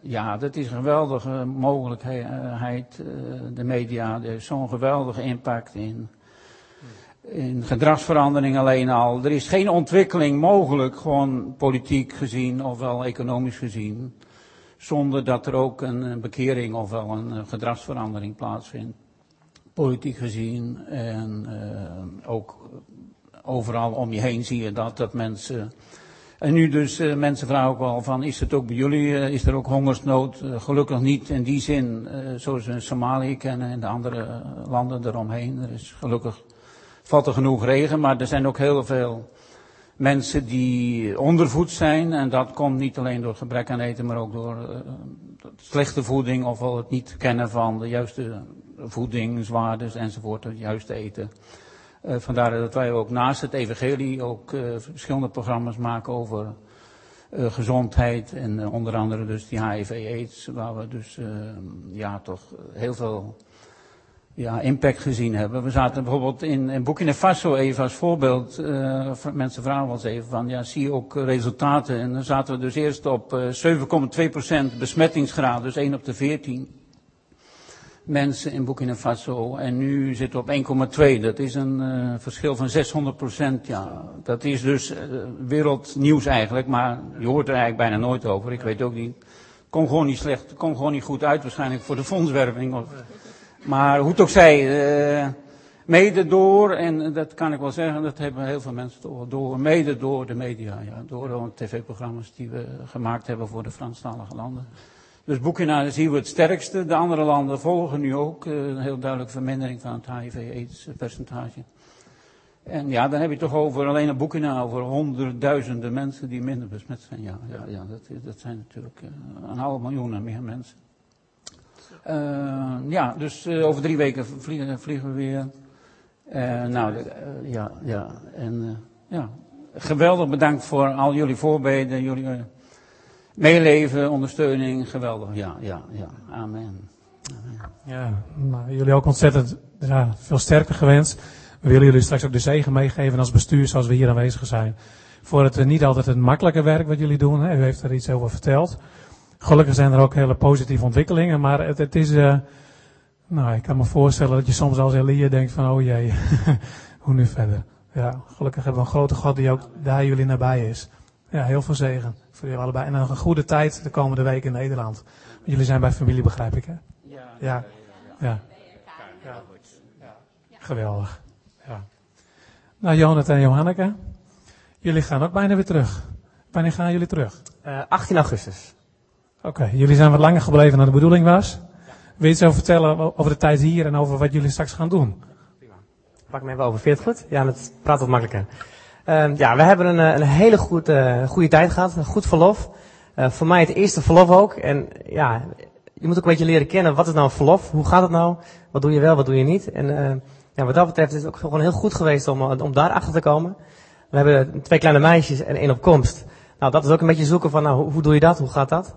ja, dat is een geweldige mogelijkheid. eh, de media, er is zo'n geweldige impact in, in gedragsverandering alleen al. Er is geen ontwikkeling mogelijk, gewoon politiek gezien of wel economisch gezien, zonder dat er ook een eh, bekering of wel een eh, gedragsverandering plaatsvindt. Politiek gezien en eh, ook overal om je heen zie je dat, dat mensen. En nu dus, eh, mensen vragen ook wel van, is het ook bij jullie, eh, is er ook hongersnood? Eh, gelukkig niet in die zin, eh, zoals we in Somalië kennen en de andere eh, landen eromheen. Er is gelukkig, valt er genoeg regen, maar er zijn ook heel veel mensen die ondervoed zijn. En dat komt niet alleen door gebrek aan eten, maar ook door eh, slechte voeding of wel het niet kennen van de juiste voedingswaardes enzovoort, het juiste eten. Eh, vandaar dat wij ook naast het evangelie ook eh, verschillende programma's maken over eh, gezondheid en eh, onder andere dus die HIV-AIDS, waar we dus eh, ja, toch heel veel ja, impact gezien hebben. We zaten bijvoorbeeld in, in Burkina Faso even als voorbeeld, eh, v- mensen vragen ons even van, ja, zie je ook resultaten? En dan zaten we dus eerst op eh 7,2% besmettingsgraad, dus 1 op de 14 mensen in Burkina Faso. En nu zitten we op 1,2. Dat is een eh, verschil van 600 Ja. Dat is dus eh, wereldnieuws eigenlijk, maar je hoort er eigenlijk bijna nooit over. Ik weet ook niet. Kom gewoon niet slecht, kom gewoon niet goed uit waarschijnlijk voor de fondswerving. Of, maar hoe het ook zij, eh, mede door, en dat kan ik wel zeggen, dat hebben heel veel mensen toch wel door, mede door de media, ja, door de tv-programma's die we gemaakt hebben voor de Franstalige landen. Dus Burkina zien we het sterkste. De andere landen volgen nu ook eh, een heel duidelijke vermindering van het HIV-AIDS-percentage. En ja, dan heb je toch over alleen in Burkina over honderdduizenden mensen die minder besmet zijn. Ja, ja, ja dat, is- dat zijn natuurlijk eh, een half miljoen en meer mensen. Eh, ja, dus eh, over drie weken vliegen, vliegen we weer. Eh, nou, de- eh, ja, ja. En eh, ja, geweldig bedankt voor al jullie voorbeden, jullie eh, meeleven, ondersteuning. Geweldig, ja, ja, ja. Amen. Ja, nou, jullie ook ontzettend ja, veel sterker gewenst. We willen jullie straks ook de zegen meegeven als bestuur zoals we hier aanwezig zijn. Voor het eh, niet altijd het makkelijke werk wat jullie doen. Hè. U heeft er iets over verteld. Gelukkig zijn er ook hele positieve ontwikkelingen. Maar het, het is, eh, nou ik kan me voorstellen dat je soms als Elia denkt van oh jee, hoe nu verder. Ja, gelukkig hebben we een grote God die ook daar jullie nabij is. Ja, heel veel zegen voor jullie allebei. En een goede tijd de komende week in Nederland. Want jullie zijn bij familie begrijp ik hè? Ja. Ja. ja. Geweldig. Ja. Nou, Jonathan en Johanneke, jullie gaan ook bijna weer terug. Wanneer gaan jullie terug? Eh, 18 augustus. Oké, jullie zijn wat langer gebleven dan de bedoeling was. Wil je iets over vertellen o- over de tijd hier en over wat jullie straks gaan doen? Pak me even over. Vind je het goed? Ja, dat praat wat makkelijker. Ehm, ja, we hebben een, eh, een hele goed, eh, goede tijd gehad. Een goed verlof. Eh, voor mij het eerste verlof ook. En ja, je moet ook een beetje leren kennen. Wat is nou een verlof? Hoe gaat het nou? Wat doe je wel, wat doe je niet? En eh, ja, wat dat betreft is het ook gewoon heel goed geweest om, eh, om daar achter te komen. We hebben twee kleine meisjes en één op komst. Nou, dat is ook een beetje zoeken van, nou, hoe, hoe doe je dat? Hoe gaat dat?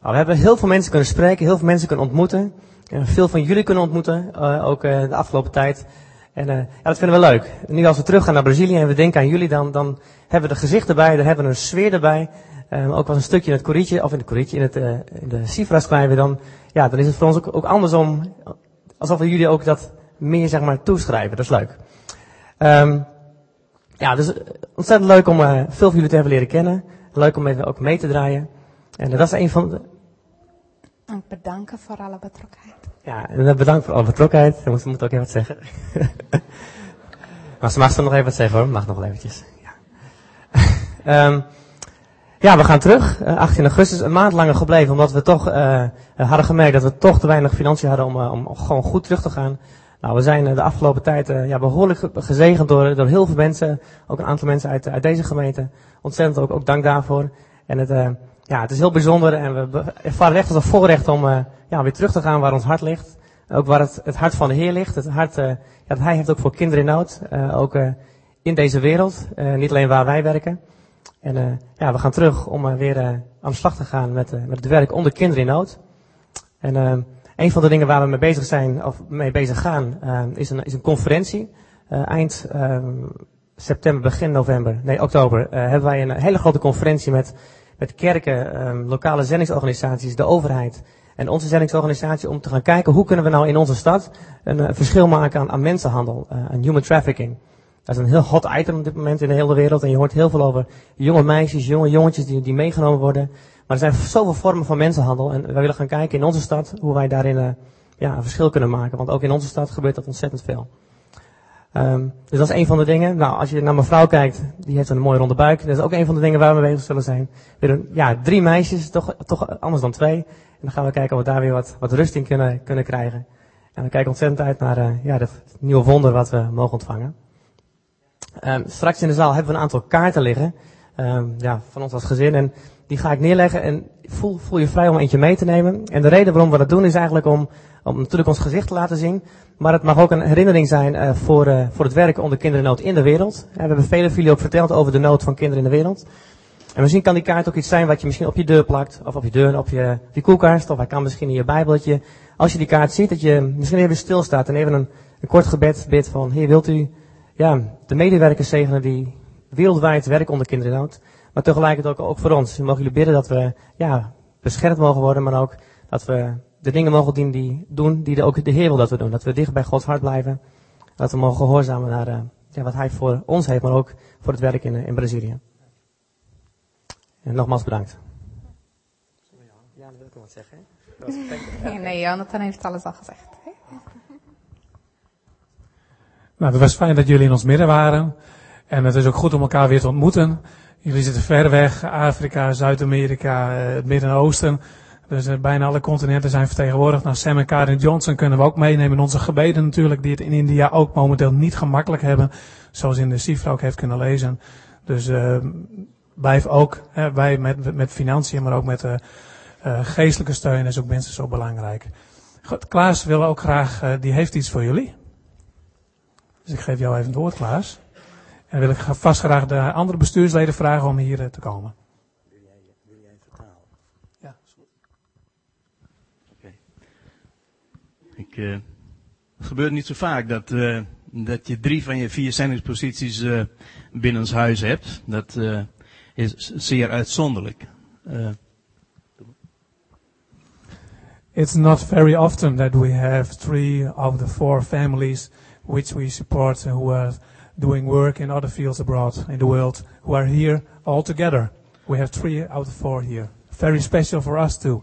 Nou, we hebben heel veel mensen kunnen spreken, heel veel mensen kunnen ontmoeten. En veel van jullie kunnen ontmoeten, eh, ook eh, de afgelopen tijd. En eh, ja, dat vinden we leuk. Nu als we terug gaan naar Brazilië en we denken aan jullie, dan, dan hebben we de gezichten bij, dan hebben we een sfeer erbij. Eh, ook wel een stukje in het korietje, of in het korietje, in, het, eh, in de cifras krijgen we dan. Ja, dan is het voor ons ook, ook andersom, alsof we jullie ook dat meer zeg maar toeschrijven. Dat is leuk. Ehm, ja, dus eh, ontzettend leuk om eh, veel van jullie te hebben leren kennen. Leuk om even ook mee te draaien. En dat is een van de, En bedanken voor alle betrokkenheid. Ja, en eh, bedankt voor alle betrokkenheid. Dan moet, moet ook even wat zeggen. maar ze mag zo nog even wat zeggen hoor. Mag nog wel eventjes. Ja, Ehm, ja we gaan terug. Eh, 18 augustus, een maand langer gebleven. Omdat we toch eh, eh, hadden gemerkt dat we toch te weinig financiën hadden om, eh, om gewoon goed terug te gaan. Nou, we zijn eh, de afgelopen tijd eh, ja, behoorlijk ge- gezegend door, door heel veel mensen. Ook een aantal mensen uit, eh, uit deze gemeente. Ontzettend ook, ook dank daarvoor. En het, eh, ja, het is heel bijzonder en we be- ervaren het echt als een voorrecht om eh, ja, weer terug te gaan waar ons hart ligt. Ook waar het, het hart van de Heer ligt. Het hart eh, ja, dat Hij heeft ook voor kinderen in nood. eh, ook eh, in deze wereld. eh, niet alleen waar wij werken. En eh, ja, we gaan terug om eh, weer eh, aan de slag te gaan met, eh, met het werk onder kinderen in nood. En eh, een van de dingen waar we mee bezig zijn, of mee bezig gaan, eh, is, een, is een conferentie. Eh, eind eh, september, begin november, nee oktober, eh, hebben wij een hele grote conferentie met met kerken, ehm, lokale zendingsorganisaties, de overheid en onze zendingsorganisatie om te gaan kijken hoe kunnen we nou in onze stad een eh, verschil maken aan, aan mensenhandel, eh, aan human trafficking. Dat is een heel hot item op dit moment in de hele wereld en je hoort heel veel over jonge meisjes, jonge jongetjes die, die meegenomen worden. Maar er zijn zoveel vormen van mensenhandel en wij willen gaan kijken in onze stad hoe wij daarin eh, ja, een verschil kunnen maken. Want ook in onze stad gebeurt dat ontzettend veel. Ehm, dus dat is een van de dingen. Nou, als je naar mijn vrouw kijkt, die heeft een mooie ronde buik. Dat is ook een van de dingen waar we mee bezig zullen zijn. Weer een- ja, drie meisjes, toch, toch anders dan twee. En dan gaan we kijken of we daar weer wat, wat rust in kunnen, kunnen krijgen. En we kijken ontzettend uit naar eh, ja, het nieuwe wonder wat we mogen ontvangen. Ehm, straks in de zaal hebben we een aantal kaarten liggen. ehm, ja, van ons als gezin. En die ga ik neerleggen. En voel, voel je vrij om eentje mee te nemen. En de reden waarom we dat doen is eigenlijk om, om natuurlijk ons gezicht te laten zien. Maar het mag ook een herinnering zijn eh, voor, eh, voor het werk onder kindernood in de wereld. Eh, we hebben vele van jullie ook verteld over de nood van kinderen in de wereld. En misschien kan die kaart ook iets zijn wat je misschien op je deur plakt. Of op je deur, op je, op je koelkast. Of hij kan misschien in je bijbeltje. Als je die kaart ziet, dat je misschien even stilstaat. En even een, een kort gebed bidt van... Heer, wilt u ja, de medewerkers zegenen die wereldwijd werken onder kinderen in nood. Maar tegelijkertijd ook, ook voor ons. We mogen jullie bidden dat we ja, beschermd mogen worden. Maar ook dat we de dingen mogen doen die, doen die de, ook de Heer wil dat we doen. Dat we dicht bij Gods hart blijven. Dat we mogen gehoorzamen naar eh, ja, wat Hij voor ons heeft. Maar ook voor het werk in, eh, in Brazilië. En nogmaals bedankt. Ja, dat wil ik nog wat zeggen. Nee, Jonathan heeft alles al gezegd. hè? Nou, het was fijn dat jullie in ons midden waren. En het is ook goed om elkaar weer te ontmoeten. Jullie zitten ver weg, Afrika, Zuid-Amerika, eh, het Midden-Oosten. Dus eh, bijna alle continenten zijn vertegenwoordigd. Nou, Sam en Karin Johnson kunnen we ook meenemen in onze gebeden natuurlijk, die het in India ook momenteel niet gemakkelijk hebben. Zoals in de Sifra ook heeft kunnen lezen. Dus eh, blijf ook, hè, wij met, met financiën, maar ook met eh, eh, geestelijke steun is ook minstens zo belangrijk. Goed, Klaas wil ook graag, eh, die heeft iets voor jullie. Dus ik geef jou even het woord, Klaas. En dan wil ik gra- vast graag de andere bestuursleden vragen om hier eh, te komen. Ik, eh, het gebeurt niet zo vaak dat, eh, dat je drie van je vier zendingsposities eh binnenshuis hebt. Dat eh, is zeer uitzonderlijk. Eh, It's not very often that we have three of the four families which we support eh, who are doing work in other fields abroad in the world who are here all together. We have three out of four here. Very special for us too.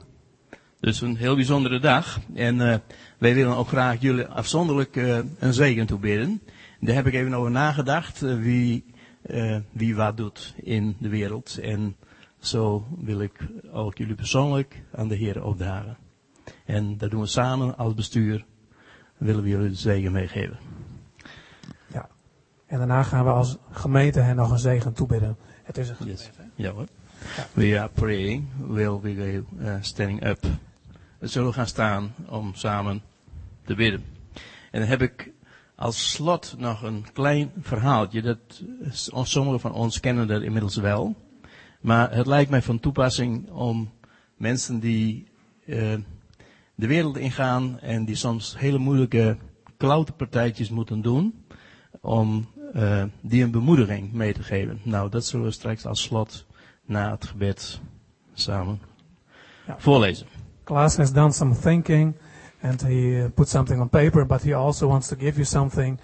dus een heel bijzondere dag. En eh, wij willen ook graag jullie afzonderlijk eh, een zegen toebidden. Daar heb ik even over nagedacht eh, wie, eh, wie wat doet in de wereld. En zo wil ik ook jullie persoonlijk aan de Heer opdragen. En dat doen we samen als bestuur. Willen we jullie de zegen meegeven. Ja. En daarna gaan we als gemeente hen nog een zegen toebidden. Het is een Yes. Ja hoor. We are praying. Will we go eh, standing up? We zullen gaan staan om samen te bidden. En dan heb ik als slot nog een klein verhaaltje. Dat, s- sommigen van ons kennen dat inmiddels wel. Maar het lijkt mij van toepassing om mensen die eh, de wereld ingaan en die soms hele moeilijke klauterpartijtjes moeten doen, om eh, die een bemoediging mee te geven. Nou, dat zullen we straks als slot na het gebed samen Ja. voorlezen. Klaas has done some thinking and he uh, put something on paper, but he also wants to give you something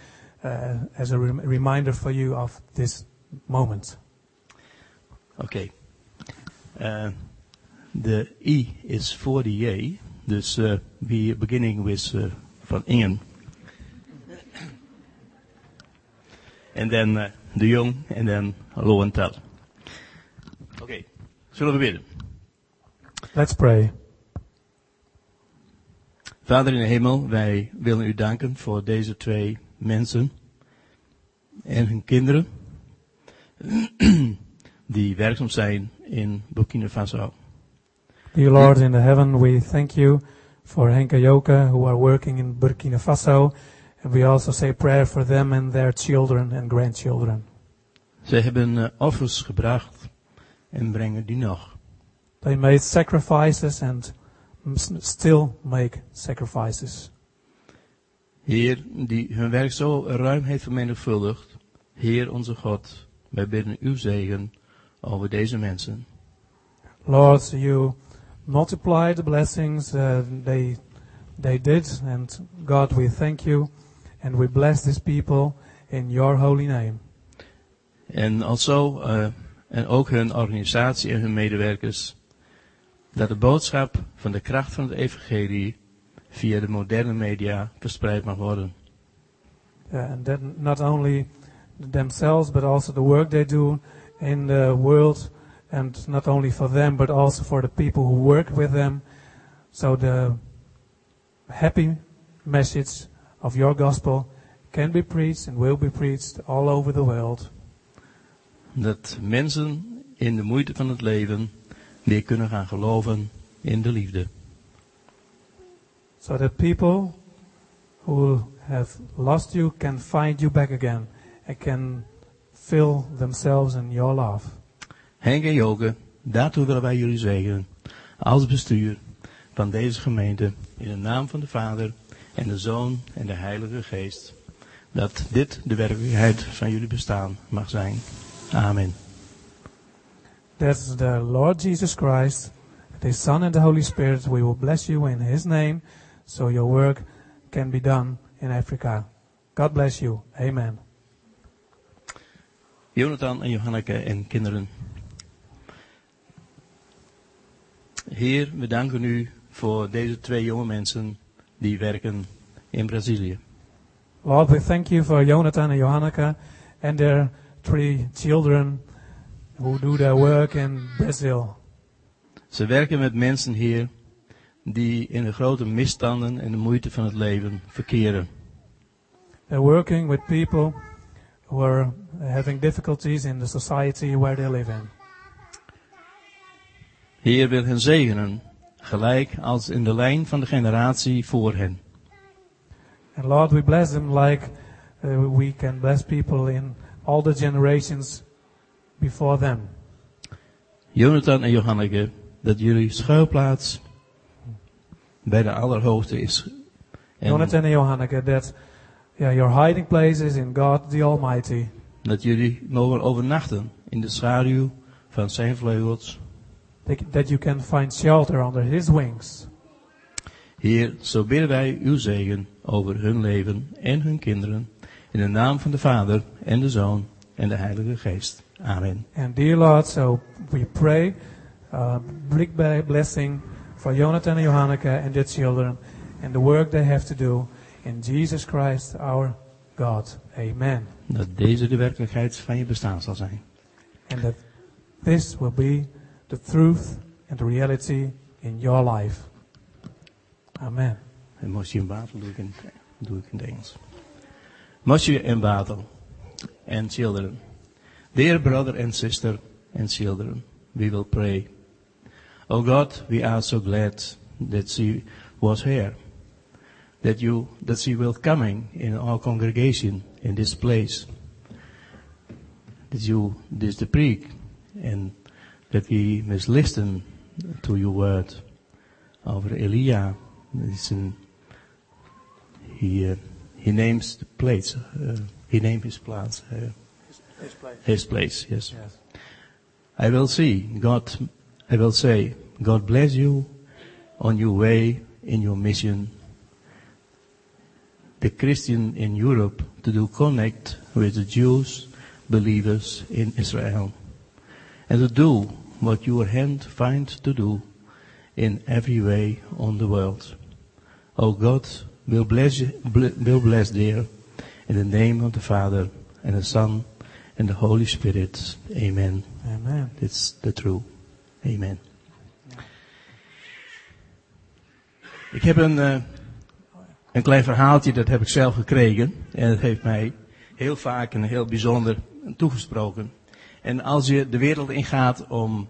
uh, as a rem- reminder for you of this moment. Oké. Eh, The E is for the J. Dus eh, we beginning with eh, Van Ingen. En dan eh, De Jong en dan Lowenthal. Oké, zullen we bidden? Let's pray. Vader in de hemel, wij willen u danken voor deze twee mensen en hun kinderen die werkzaam zijn in Burkina Faso. Dear Lord in the heaven, we thank you for Henk and Joka who are working in Burkina Faso. And we also say prayer for them and their children and grandchildren. Zij hebben eh, offers gebracht en brengen die nog. They made sacrifices and m- s- still make sacrifices. Heer, die hun werk zo ruim heeft vermenigvuldigd, Heer onze God, wij bidden uw zegen over deze mensen. Lord, you multiply the blessings uh, they they did, and God, we thank you, and we bless these people in your holy name, En also, eh, en ook hun organisatie en hun medewerkers, dat de boodschap van de kracht van het evangelie via de moderne media verspreid mag worden. uh, and that not only themselves but also the work they do in the world, and not only for them but also for the people who work with them. So the happy message of your gospel can be preached and will be preached all over the world. Dat mensen in de moeite van het leven weer kunnen gaan geloven in de liefde. so that people who have lost you can find you back again and can fill themselves in your love. Henk en Joke, daartoe willen wij jullie zegenen als bestuur van deze gemeente in de naam van de Vader en de Zoon en de Heilige Geest, dat dit de werkelijkheid van jullie bestaan mag zijn. Amen. That's the Lord Jesus Christ, the Son and the Holy Spirit. We will bless you in His name so your work can be done in Africa. God bless you. Amen. Jonathan en Johanneke en kinderen. Heer, we danken u voor deze twee jonge mensen die werken in Brazilië. Lord, we thank you for Jonathan and Johanneke and their three children who do their work in Brazil. Ze werken met mensen, Heer, die in de grote misstanden en de moeite van het leven verkeren. They're uh, working with people who are uh, having difficulties in the society where they live in. Heer wil hen zegenen, gelijk als in de lijn van de generatie voor hen. And Lord, we bless them like uh, we can bless people in all the generations before them. Jonathan en Johanneke, dat jullie schuilplaats bij de allerhoogste is. En Jonathan and Johanneke, that yeah, your hiding place is in God the Almighty. dat jullie mogen overnachten in de schaduw van zijn vleugels. That that you can find shelter under His wings. Heer, zo bidden wij uw zegen over hun leven en hun kinderen. In de naam van de Vader en de Zoon en de Heilige Geest. Amen. And dear Lord, so we pray uh, big ba- blessing for Jonathan and Johanneke and their children and the work they have to do in Jesus Christ our God. Amen. Dat deze de werkelijkheid van je bestaan zal zijn. And that this will be the truth and the reality in your life. Amen. En mosje en water doe ik in, doe ik in het Engels. Mosje en water. And children. Dear brother and sister and children, we will pray. Oh God, we are so glad that she was here. That you, that she will coming in our congregation in this place. That you, this the preach and that we must listen to your word over Elia. It's in he uh, he names the place. Uh, he named his plants. Uh, his place. Yes. Yes. I will see God. I will say, God bless you on your way in your mission. The Christian in Europe to do connect with the Jews believers in Israel, and to do what your hand find to do in every way on the world. Oh God, will bless, you- bl- will bless dear in the name of the Father and the Son and the Holy Spirit. Amen. Amen. It's the true. Amen. Ik heb een, eh, een klein verhaaltje, dat heb ik zelf gekregen. En dat heeft mij heel vaak en heel bijzonder toegesproken. En als je de wereld ingaat om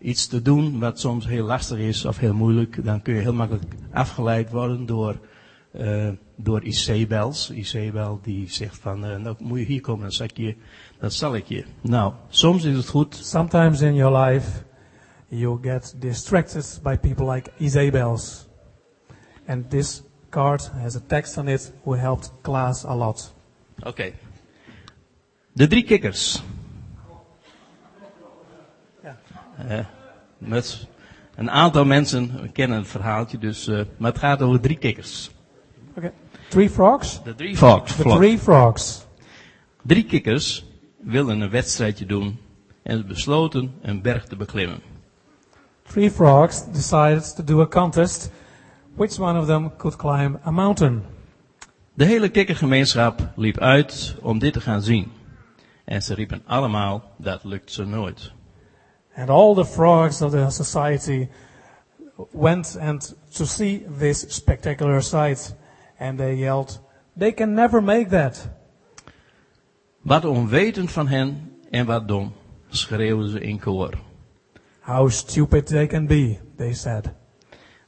iets te doen wat soms heel lastig is of heel moeilijk, dan kun je heel makkelijk afgeleid worden door, eh, door IC-bels. IC-bel die zegt van, eh, nou moet je hier komen, dan zal ik je. Dan zal ik je. Nou, soms is het goed Sometimes in your life, you get distracted by people like Isabels. And this card has a text on it who helped Klaas a lot. Oké. De drie kikkers. Eh, met een aantal mensen kennen het verhaaltje, dus, eh, maar het gaat over drie kikkers. Okay. Three frogs? De drie fox. The three frogs. Drie kikkers wilden een wedstrijdje doen en ze besloten een berg te beklimmen. Three frogs decided to do a contest. Which one of them could climb a mountain? De hele kikkergemeenschap liep uit om dit te gaan zien. En ze riepen allemaal, dat lukt ze nooit. And all the frogs of the society went and to see this spectacular sight. And they yelled, they can never make that. Wat onwetend van hen en wat dom, schreeuwden ze in koor. How stupid they can be, they said.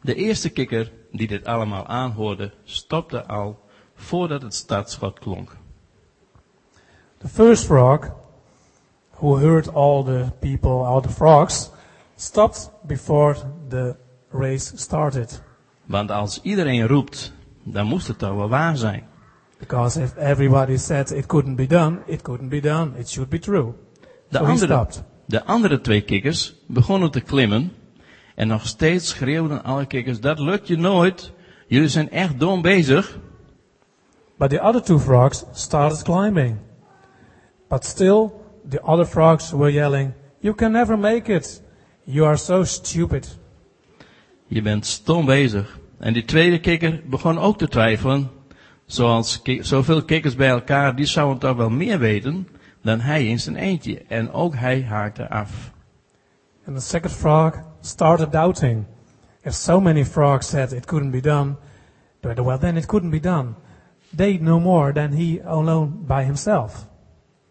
De eerste kikker die dit allemaal aanhoorde, stopte al voordat het startschot klonk. The first frog, who heard all the people, all the frogs, stopped before the race started. Want als iedereen roept, dan moest het toch wel waar zijn. Because if everybody said it couldn't be done, it couldn't be done. It should be true. De, so he andere, stopped. de andere twee kikkers begonnen te klimmen en nog steeds schreeuwden alle kikkers, dat lukt je nooit, jullie zijn echt dom bezig. But the other two frogs started climbing. But still, the other frogs were yelling, You can never make it. You are so stupid. Je bent stom bezig. En die tweede kikker begon ook te twijfelen. Zoals ki- zoveel kikkers bij elkaar, die zouden toch wel meer weten dan hij in zijn eentje. En ook hij haakte af. And the second frog started doubting. If so many frogs said it couldn't be done, well then it couldn't be done. They no more than he alone by himself.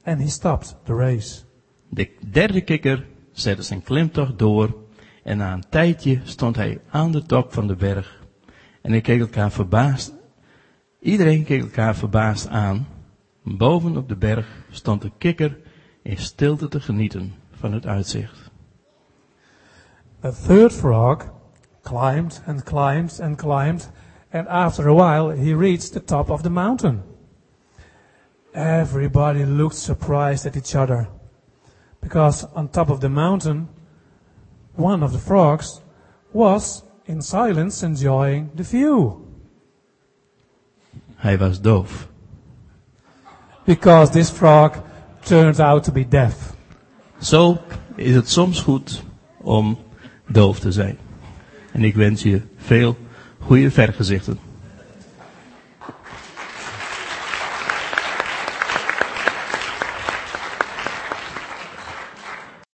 And he stopped the race. De derde kikker zette zijn klimtocht door. En na een tijdje stond hij aan de top van de berg. En hij keek elkaar verbaasd. Iedereen keek elkaar verbaasd aan. Boven op de berg stond de kikker in stilte te genieten van het uitzicht. The third frog climbed and climbed and climbed, and after a while he reached the top of the mountain. Everybody looked surprised at each other, because on top of the mountain, one of the frogs was in silence enjoying the view, Hij was doof. because this frog turned out to be deaf. Zo is het soms goed om doof te zijn. En ik wens je veel goede vergezichten.